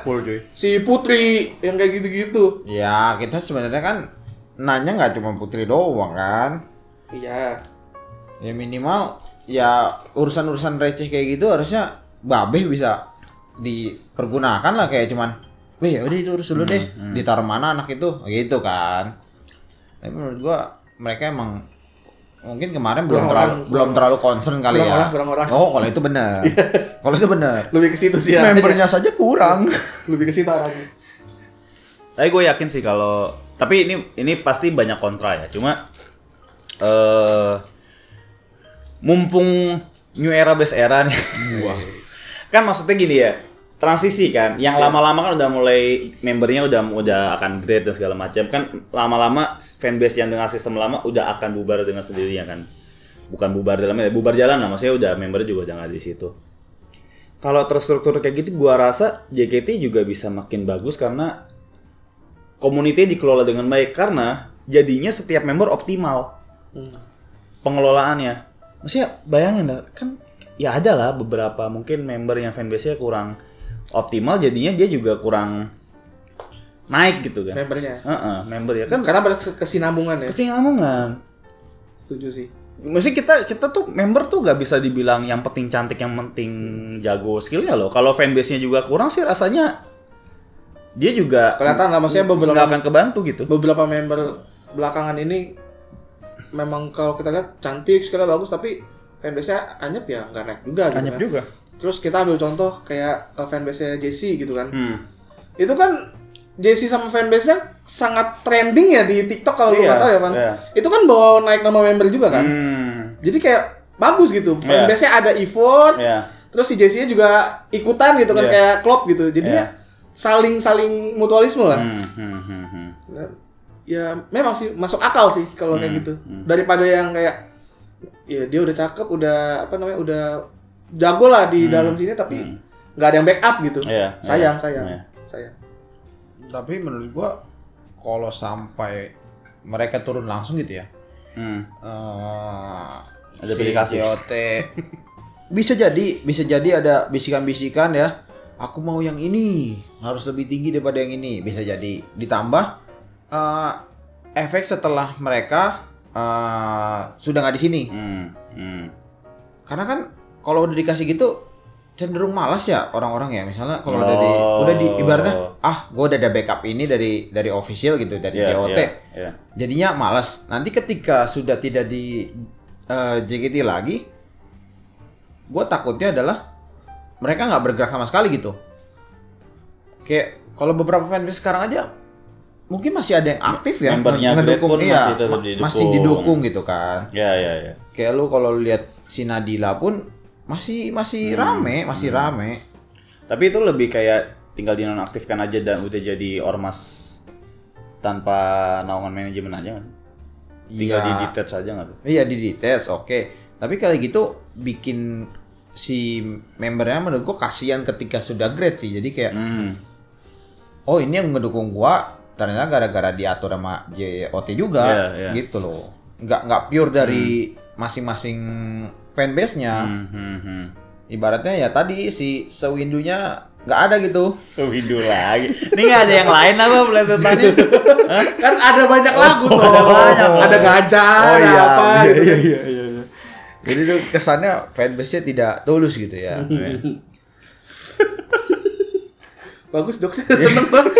Speaker 2: si Putri yang kayak gitu-gitu.
Speaker 3: ya kita sebenarnya kan nanya nggak cuma putri doang kan
Speaker 2: Iya.
Speaker 3: ya minimal ya urusan-urusan receh kayak gitu harusnya babeh bisa dipergunakan lah kayak cuman weh ya udah itu urus dulu
Speaker 2: Hmm,
Speaker 3: deh ditaruh mana anak itu gitu kan tapi menurut gua mereka emang mungkin kemarin belum
Speaker 2: Kurang
Speaker 3: terlalu
Speaker 2: orang,
Speaker 3: belum terlalu concern kali
Speaker 2: Kurang
Speaker 3: ya
Speaker 2: orang, kurang orang. Iya.
Speaker 3: oh kalau itu benar kalau itu benar
Speaker 2: Lebih ke situ sih ya.
Speaker 3: membernya saja kurang
Speaker 2: Lebih ke situ arahnya.
Speaker 1: Tapi gue yakin sih kalau tapi ini ini pasti banyak kontra ya. Cuma eh mumpung new era base era nih. kan maksudnya gini ya. Transisi kan, yang lama-lama kan udah mulai membernya udah udah akan grade dan segala macam kan lama-lama fanbase yang dengan sistem lama udah akan bubar dengan sendirinya kan, bukan bubar dalamnya, bubar jalan lah maksudnya udah membernya juga udah nggak di situ. kalau terstruktur kayak gitu gua rasa JKT juga bisa makin bagus karena komunitasnya dikelola dengan baik karena jadinya setiap member optimal
Speaker 2: Hmm.
Speaker 1: pengelolaannya. Maksudnya bayangin lah, kan ya ada lah beberapa mungkin member yang fanbase-nya kurang optimal jadinya dia juga kurang naik gitu
Speaker 2: Ya.
Speaker 1: kan.
Speaker 2: membernya.
Speaker 1: Heeh, member ya kan
Speaker 2: Karena banyak kesinambungan ya.
Speaker 1: kesinambungan.
Speaker 2: Setuju sih.
Speaker 1: Maksudnya kita kita tuh member tuh gak bisa dibilang yang penting cantik yang penting jago skillnya loh. Kalau fanbase-nya juga kurang sih rasanya dia juga
Speaker 2: Kelihatan lah maksudnya
Speaker 1: nggak
Speaker 2: beberapa
Speaker 1: akan kebantu gitu.
Speaker 2: beberapa member belakangan ini memang kalau kita lihat cantik segala bagus tapi fanbase-nya anyep ya nggak naik juga gitu kan.
Speaker 1: juga.
Speaker 2: Terus kita ambil contoh kayak eh, fanbase-nya Jesse gitu kan.
Speaker 1: Hmm.
Speaker 2: Itu kan Jesse sama fanbase-nya sangat trending ya di TikTok kalau lu
Speaker 1: Iya,
Speaker 2: nggak tahu ya, Pan.
Speaker 1: iya.
Speaker 2: Itu kan bawa naik nama member juga kan.
Speaker 1: Hmm.
Speaker 2: Jadi kayak bagus gitu.
Speaker 1: Iya.
Speaker 2: Fanbase-nya ada effort,
Speaker 1: Ya.
Speaker 2: terus si Jesse-nya juga ikutan gitu kan
Speaker 1: Iya.
Speaker 2: kayak klop gitu. Jadinya saling-saling mutualisme lah.
Speaker 1: Hmm, hmm, hmm, hmm.
Speaker 2: Nah, ya memang sih masuk akal sih kalau kayak
Speaker 1: Hmm.
Speaker 2: gitu daripada yang kayak ya dia udah cakep udah apa namanya udah jago lah di dalam sini tapi nggak ada yang backup gitu
Speaker 1: Hmm. Iya,
Speaker 2: sayang
Speaker 1: iya,
Speaker 2: sayang
Speaker 1: iya.
Speaker 2: sayang
Speaker 3: Tapi menurut gua kalau sampai mereka turun langsung gitu ya.
Speaker 1: Hmm.
Speaker 3: eh,
Speaker 1: Oh. Ada
Speaker 3: si
Speaker 1: pilih kasih.
Speaker 3: JOT. bisa jadi, bisa jadi ada bisikan-bisikan ya. Aku mau yang ini, harus lebih tinggi daripada yang ini. Bisa jadi. Ditambah eh, efek setelah mereka eh, sudah nggak di sini.
Speaker 1: Hmm. Hmm.
Speaker 3: Karena kan kalau udah dikasih gitu cenderung malas ya orang-orang ya misalnya kalau udah di
Speaker 1: Oh.
Speaker 3: udah di ibaratnya ah gue udah ada backup ini dari dari official gitu dari
Speaker 1: Iya,
Speaker 3: JOT
Speaker 1: iya, iya.
Speaker 3: jadinya malas nanti ketika sudah tidak di eh, JKT lagi gue takutnya adalah mereka nggak bergerak sama sekali gitu kayak kalau beberapa fanbase sekarang aja mungkin masih ada yang aktif ya
Speaker 1: Membernya Grab pun
Speaker 3: iya,
Speaker 1: masih tetap
Speaker 3: ma-
Speaker 1: didukung.
Speaker 3: masih didukung gitu kan
Speaker 1: Ya, ya, ya.
Speaker 3: kayak lu kalau lu lihat si Nadila pun masih masih
Speaker 1: Hmm.
Speaker 3: rame masih rame
Speaker 1: Tapi itu lebih kayak tinggal dinonaktifkan aja dan udah jadi ormas tanpa naungan manajemen aja kan? Tinggal
Speaker 3: Iya.
Speaker 1: di detach aja nggak tuh?
Speaker 3: Iya di dites, oke. Tapi kayak gitu bikin si membernya menurut gua kasihan ketika sudah grade sih. Jadi kayak
Speaker 1: Hmm.
Speaker 3: oh ini yang ngedukung gua ternyata gara-gara diatur sama JOT juga
Speaker 1: Iya, Hmm. iya.
Speaker 3: gitu loh. Nggak nggak pure dari masing-masing fanbase-nya.
Speaker 1: Hmm, hmm, hmm.
Speaker 3: Ibaratnya ya tadi si sewindunya nggak ada gitu.
Speaker 1: So Hindu lagi. Ini nggak ada yang lain apa pelesetannya?
Speaker 2: kan ada banyak lagu tuh
Speaker 1: Oh. ada banyak.
Speaker 2: ada gajah ada apa gitu.
Speaker 3: Oh, iya iya. iya. Jadi tuh kesannya fanbase-nya tidak tulus gitu ya.
Speaker 2: bagus dok saya seneng banget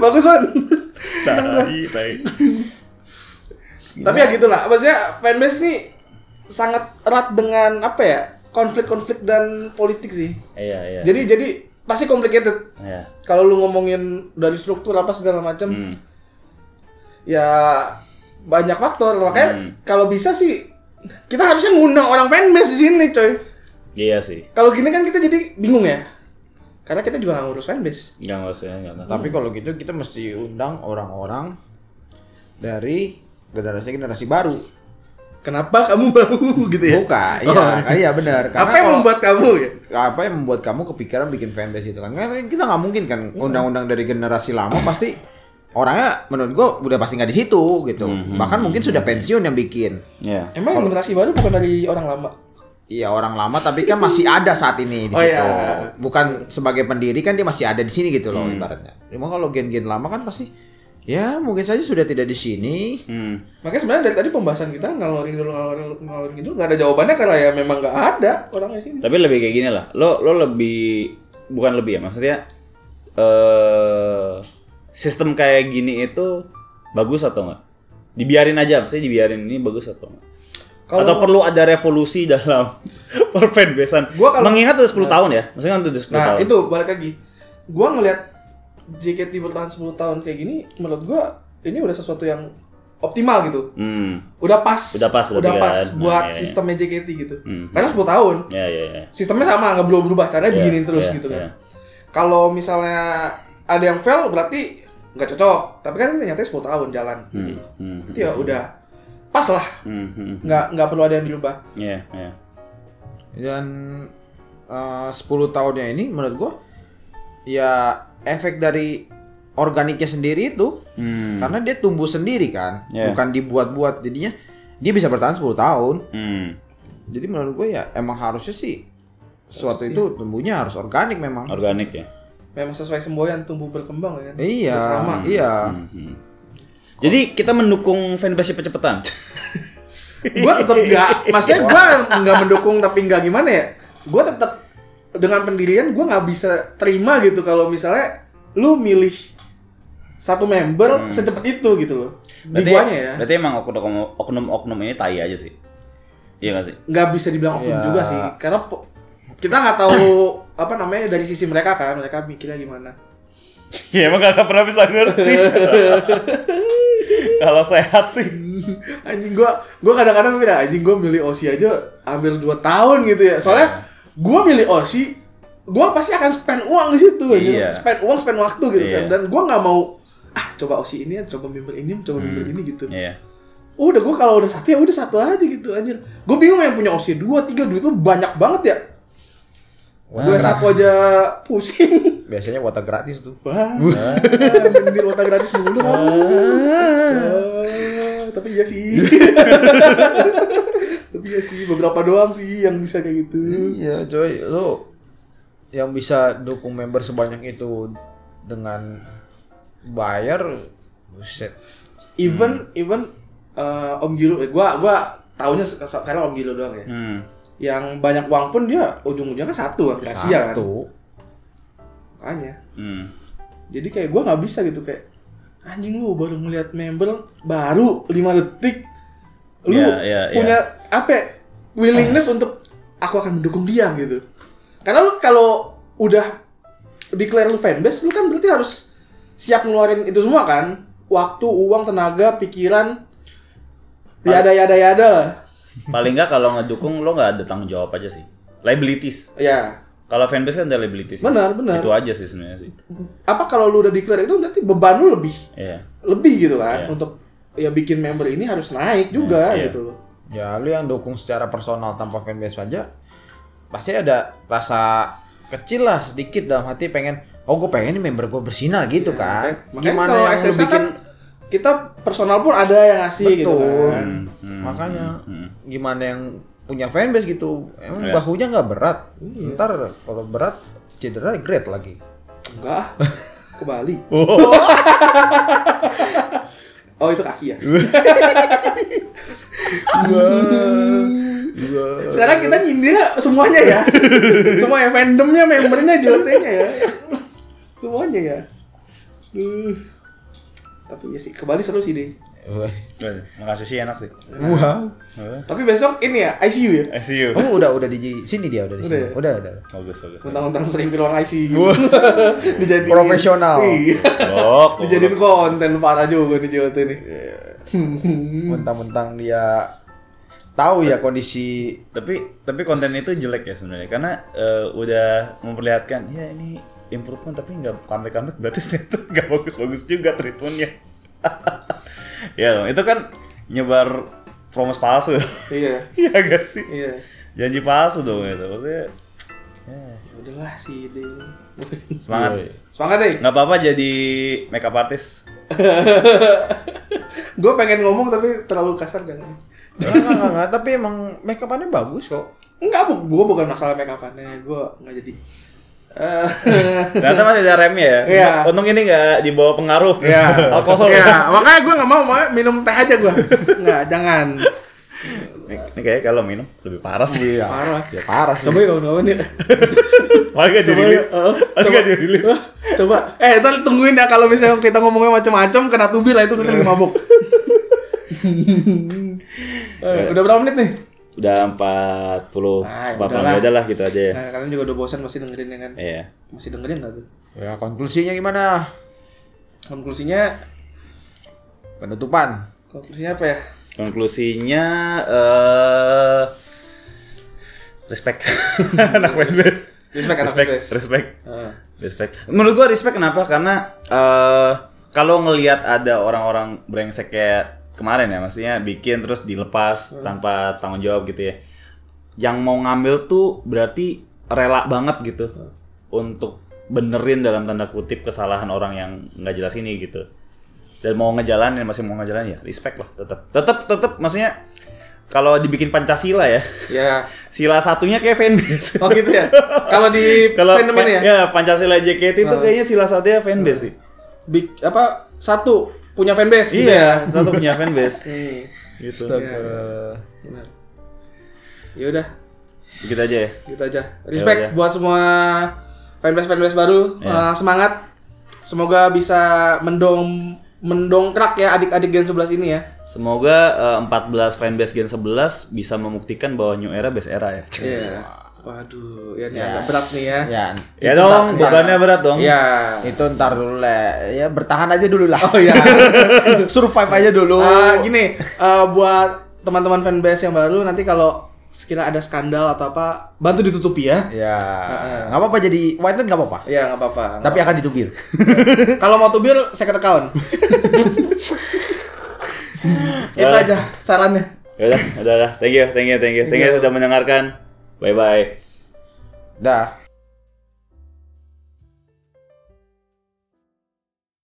Speaker 2: bagus banget
Speaker 1: Cari, baik.
Speaker 2: tapi ya gitulah maksudnya fanbase ini sangat erat dengan apa ya konflik-konflik dan politik sih
Speaker 1: Iya, iya.
Speaker 2: jadi jadi pasti complicated
Speaker 1: Iya.
Speaker 2: kalau lu ngomongin dari struktur apa segala macam
Speaker 1: Hmm.
Speaker 2: ya banyak faktor makanya kalau bisa sih kita harusnya ngundang orang fanbase di sini coy
Speaker 1: Iya sih.
Speaker 2: kalau gini kan kita jadi bingung ya karena kita juga nggak ngurus fanbase
Speaker 1: Nggak nggak usah, nggak nggak.
Speaker 3: Tapi kalau gitu kita mesti undang orang-orang dari generasi generasi baru.
Speaker 2: kenapa kamu bau gitu ya
Speaker 3: Buka, iya, iya benar. Karena
Speaker 2: apa yang
Speaker 3: kalau-
Speaker 2: membuat kamu ya
Speaker 3: apa yang membuat kamu kepikiran bikin fanbase itu kan? Karena kita nggak mungkin kan
Speaker 2: Iya.
Speaker 3: undang-undang dari generasi lama pasti orangnya menurut gua udah pasti nggak di situ gitu.
Speaker 2: Hmm,
Speaker 3: Bahkan mungkin sudah pensiun yang bikin.
Speaker 1: Iya.
Speaker 2: emang generasi baru bukan dari orang lama
Speaker 3: Iya orang lama tapi kan masih ada saat ini di
Speaker 2: Oh,
Speaker 3: situ.
Speaker 2: iya. Hmm.
Speaker 3: Bukan sebagai pendiri kan dia masih ada di sini gitu loh ibaratnya. Cuma kalau gen-gen lama kan pasti ya mungkin saja sudah tidak di sini.
Speaker 1: Hmm.
Speaker 2: makanya sebenarnya dari tadi pembahasan kita ngalor ngidul ngalor ngalor ngidul nggak ada jawabannya karena ya memang nggak ada orangnya sini
Speaker 1: Tapi lebih kayak gini lah. Lo lo lebih bukan lebih ya maksudnya eh sistem kayak gini itu bagus atau enggak? Dibiarin aja maksudnya dibiarin ini bagus atau enggak?
Speaker 2: Kalau-
Speaker 1: atau perlu ada revolusi dalam perfanbasean.
Speaker 2: Gua kalau-
Speaker 1: mengingat udah 10 tahun ya. Maksudnya kan udah 10
Speaker 2: Nah
Speaker 1: tahun.
Speaker 2: itu balik lagi. Gua ngelihat JKT bertahan 10 tahun kayak gini, menurut gua ini udah sesuatu yang optimal gitu.
Speaker 1: Hmm.
Speaker 2: Udah pas.
Speaker 1: Udah pas berarti kan. Nah,
Speaker 2: buat
Speaker 1: iya, iya.
Speaker 2: sistemnya JKT gitu.
Speaker 1: Hmm.
Speaker 2: Karena 10 tahun.
Speaker 1: Ya ya ya.
Speaker 2: Sistemnya sama, nggak belum berubah. Caranya
Speaker 1: Iya,
Speaker 2: begini terus
Speaker 1: iya,
Speaker 2: gitu
Speaker 1: iya.
Speaker 2: kan. Kalau misalnya ada yang fail berarti nggak cocok. Tapi kan ternyata 10 tahun jalan.
Speaker 1: Hmm. Hmm.
Speaker 2: Jadi ya udah pas lah.
Speaker 1: Hmm. Ya, hmm.
Speaker 2: Nggak nggak perlu ada yang dirubah.
Speaker 1: Iya, iya.
Speaker 3: Dan eh, 10 tahunnya ini menurut gua ya efek dari organiknya sendiri itu
Speaker 1: Hmm.
Speaker 3: karena dia tumbuh sendiri kan
Speaker 1: Yeah.
Speaker 3: bukan dibuat-buat jadinya dia bisa bertahan 10 tahun
Speaker 1: Hmm.
Speaker 3: jadi menurut gue ya emang harusnya sih sesuatu itu tumbuhnya harus organik memang
Speaker 1: Organik ya.
Speaker 2: Memang sesuai semboyan tumbuh berkembang ya kan.
Speaker 3: iya
Speaker 2: Bersama.
Speaker 3: iya
Speaker 1: Hmm. Jadi kita mendukung fanbase cepet-cepetan.
Speaker 2: Gua tetap nggak, maksudnya gua nggak mendukung tapi nggak gimana ya. Gua tetap dengan pendirian gua nggak bisa terima gitu kalau misalnya lu milih satu
Speaker 3: Hmm.
Speaker 2: member secepat itu gitu loh. Di guanya ya.
Speaker 1: Berarti emang oknum- oknum-oknum ini tai aja sih. Iya gak sih?
Speaker 2: nggak bisa dibilang oknum
Speaker 3: Iya.
Speaker 2: juga sih karena po- kita nggak tahu apa namanya dari sisi mereka kan mereka mikirnya gimana
Speaker 1: Ya emang gak pernah bisa ngerti. Kalau sehat sih.
Speaker 2: anjing gua gua kadang-kadang mikir anjing gua milih Osi aja hampir 2 tahun gitu ya
Speaker 1: Iya.
Speaker 2: soalnya gua milih Osi gua pasti akan spend uang di situ anjing.
Speaker 1: Iya.
Speaker 2: spend uang spend waktu gitu kan
Speaker 1: Iya.
Speaker 2: dan gua nggak mau ah coba Osi ini coba member ini coba member ini gitu
Speaker 1: Iya.
Speaker 2: udah gua kalau udah satu ya udah satu aja gitu anjir gua bingung yang punya Osi 2 3 duit itu banyak banget ya Gue satu aja pusing
Speaker 3: biasanya water gratis tuh
Speaker 2: Wah, bener otak gratis mulu kamu. Wah, Tapi iya sih. Tapi iya sih, beberapa doang sih yang bisa kayak gitu.
Speaker 3: iya coy lu yang bisa dukung member sebanyak itu dengan bayar buset
Speaker 2: Even even eh, Om Gilo, eh, gua gua taunya se- se- karena Om Gilo doang ya.
Speaker 1: Hmm.
Speaker 2: Yang banyak uang pun dia ujung-ujungnya satu kan, Gracia kan.
Speaker 3: satu
Speaker 2: Makanya.
Speaker 1: Hmm.
Speaker 2: Jadi kayak gua nggak bisa gitu kayak anjing lu baru ngeliat member baru 5 detik lu
Speaker 1: Iya, iya, iya.
Speaker 2: punya apa ya, willingness untuk aku akan mendukung dia gitu. Karena lu kalau udah declare lu fanbase lu kan berarti harus siap ngeluarin itu semua kan? Waktu, uang, tenaga, pikiran yada yada yada lah.
Speaker 1: Paling nggak kalau ngedukung lo nggak ada tanggung jawab aja sih. Liabilities.
Speaker 2: Ya,
Speaker 1: Kalau fanbase kan ada liabilities. ya.
Speaker 2: benar benar.
Speaker 1: Itu aja sih sebenarnya sih.
Speaker 2: Apa kalau lu udah declare itu berarti beban lu lebih
Speaker 1: Iya.
Speaker 2: lebih gitu kan
Speaker 1: Iya.
Speaker 2: untuk ya bikin member ini harus naik juga
Speaker 1: Iya.
Speaker 2: gitu loh.
Speaker 3: ya lu yang dukung secara personal tanpa fanbase aja pasti ada rasa kecil lah sedikit dalam hati pengen oh gue pengen nih member gue bersinar gitu
Speaker 2: Iya,
Speaker 3: kan
Speaker 2: Eh, Makanya
Speaker 3: gimana
Speaker 2: kalau
Speaker 3: yang lu
Speaker 2: SSK
Speaker 3: bikin
Speaker 2: kan kita personal pun ada yang ngasih gitu
Speaker 3: Betul.
Speaker 2: kan.
Speaker 1: Hmm, hmm,
Speaker 3: makanya
Speaker 1: hmm.
Speaker 3: gimana yang punya fanbase gitu emang
Speaker 1: Iya.
Speaker 3: bahunya nggak berat ntar kalau berat cedera grade lagi
Speaker 2: Enggak. ah. Ke Bali. oh, itu kaki ya. Sekarang kita nyindir semuanya ya. Semua ya fandomnya, membernya, jeleknya ya. Semuanya ya. Duh. Tapi ya sih, ke Bali seru sih deh.
Speaker 1: Eh, Makasih sih enak sih.
Speaker 3: wow
Speaker 1: Iya.
Speaker 2: Tapi besok ini ya, ICU ya.
Speaker 1: I see you.
Speaker 3: oh udah udah di sini dia udah di sini
Speaker 2: Udah ya?
Speaker 3: udah udah
Speaker 1: Bagus bagus.
Speaker 2: Mentang-mentang sering ke ruang ICU. Dijadiin.
Speaker 3: Profesional.
Speaker 2: Iya.
Speaker 1: Blok.
Speaker 2: Dijadiin konten parah juga nih JOT nih.
Speaker 3: mentang-mentang dia tahu ya kondisi
Speaker 1: Tapi tapi konten itu jelek ya sebenarnya karena eh, udah memperlihatkan ya ini improvement tapi nggak comeback comeback berarti ternyata nggak bagus bagus juga treatmentnya. ya itu kan nyebar promos palsu.
Speaker 2: Iya.
Speaker 1: Iya gak sih?
Speaker 2: Iya.
Speaker 1: Janji palsu dong itu maksudnya. ya,
Speaker 2: Udahlah sih deh.
Speaker 1: semangat.
Speaker 2: Semangat deh.
Speaker 1: Nggak apa-apa jadi makeup artist.
Speaker 2: Gue pengen ngomong tapi terlalu kasar jangan.
Speaker 3: Enggak, enggak, enggak, enggak, tapi emang make up-annya bagus kok.
Speaker 2: Enggak, bu, gue bukan masalah make upannya. Gue nggak jadi. Eh,
Speaker 1: Ternyata masih ada remnya ya.
Speaker 2: Iya.
Speaker 1: Untung ini nggak dibawa pengaruh alkohol.
Speaker 2: Ya, Iya. makanya gue nggak mau mau minum teh aja gue. Nggak, jangan.
Speaker 1: Ini, ini kayaknya kalau minum lebih parah sih.
Speaker 3: Iya.
Speaker 2: Parah.
Speaker 3: Ya parah sih.
Speaker 2: Coba ya kawan-kawan ya.
Speaker 1: Paling nggak
Speaker 2: Coba
Speaker 1: dirilis.
Speaker 2: ya, eh,
Speaker 1: Paling nggak dirilis.
Speaker 2: Coba. Eh, ntar tungguin ya kalau misalnya kita ngomongnya macam-macam kena tubi lah itu kita lagi mabuk. Eh, udah berapa menit nih?
Speaker 1: Udah 40
Speaker 2: Ah, ya
Speaker 1: 40
Speaker 2: udahlah.
Speaker 1: ya udahlah gitu aja ya.
Speaker 2: Nah, kalian juga udah bosan masih dengerin ya kan?
Speaker 1: Iya.
Speaker 2: Masih dengerin nggak tuh?
Speaker 3: Ya konklusinya gimana?
Speaker 2: Konklusinya,
Speaker 3: Penutupan.
Speaker 2: konklusinya apa ya?
Speaker 1: Konklusinya eh respect anak fanbase.
Speaker 2: Respect anak Ah,
Speaker 1: respect,
Speaker 2: fanbase.
Speaker 1: respect.
Speaker 2: Heeh.
Speaker 1: Respect. Menurut gua respect kenapa? Karena eh kalau ngelihat ada orang-orang brengsek kayak kemarin ya, maksudnya bikin terus dilepas tanpa tanggung jawab gitu ya. Yang mau ngambil tuh berarti rela banget gitu untuk benerin dalam tanda kutip kesalahan orang yang nggak jelas ini gitu dan mau ngejalanin masih mau ngejalanin ya respect lah tetap tetap tetap maksudnya kalau dibikin pancasila ya
Speaker 2: Ya.
Speaker 1: sila satunya kayak fanbase
Speaker 2: Oh gitu ya. Kalau di
Speaker 1: kalau
Speaker 2: fandom ini ya.
Speaker 1: pancasila JKT itu
Speaker 2: Ah.
Speaker 1: kayaknya sila satunya fanbase sih
Speaker 2: Big apa satu punya fanbase gitu
Speaker 1: iya
Speaker 2: ya.
Speaker 1: satu punya fanbase
Speaker 2: Hmm,
Speaker 1: gitu
Speaker 2: benar. Ya udah,
Speaker 1: begitu aja ya
Speaker 2: gitu aja. Respect
Speaker 1: Ya udah.
Speaker 2: buat semua fanbase fanbase baru.
Speaker 1: Iya.
Speaker 2: Eh, semangat. Semoga bisa mendong mendongkrak ya adik-adik Gen 11 ini ya.
Speaker 1: Semoga eh, 14 fanbase Gen 11 bisa membuktikan bahwa New Era best era ya.
Speaker 2: Iya. Waduh, ya ini
Speaker 3: Ya.
Speaker 2: agak berat nih ya.
Speaker 3: Ya,
Speaker 1: ya
Speaker 3: itu
Speaker 1: dong,
Speaker 3: ntar-
Speaker 1: bebannya berat dong.
Speaker 2: Iya.
Speaker 3: Itu ntar dulu lah. Ya bertahan aja dulu lah.
Speaker 2: Oh ya.
Speaker 3: Survive aja dulu.
Speaker 2: Eh, gini, eh, buat teman-teman fanbase yang baru nanti kalau sekira ada skandal atau apa, bantu ditutupi ya.
Speaker 3: Ya, nggak apa-apa jadi white nggak apa-apa.
Speaker 2: Iya, nggak apa-apa.
Speaker 3: Tapi akan ditubir.
Speaker 2: Kalau mau tubir, second account. Itu
Speaker 1: Eh.
Speaker 2: aja sarannya.
Speaker 1: Ya udah, udah, udah. Thank you, thank you, thank you. Thank you sudah mendengarkan. Bye bye.
Speaker 3: Dah.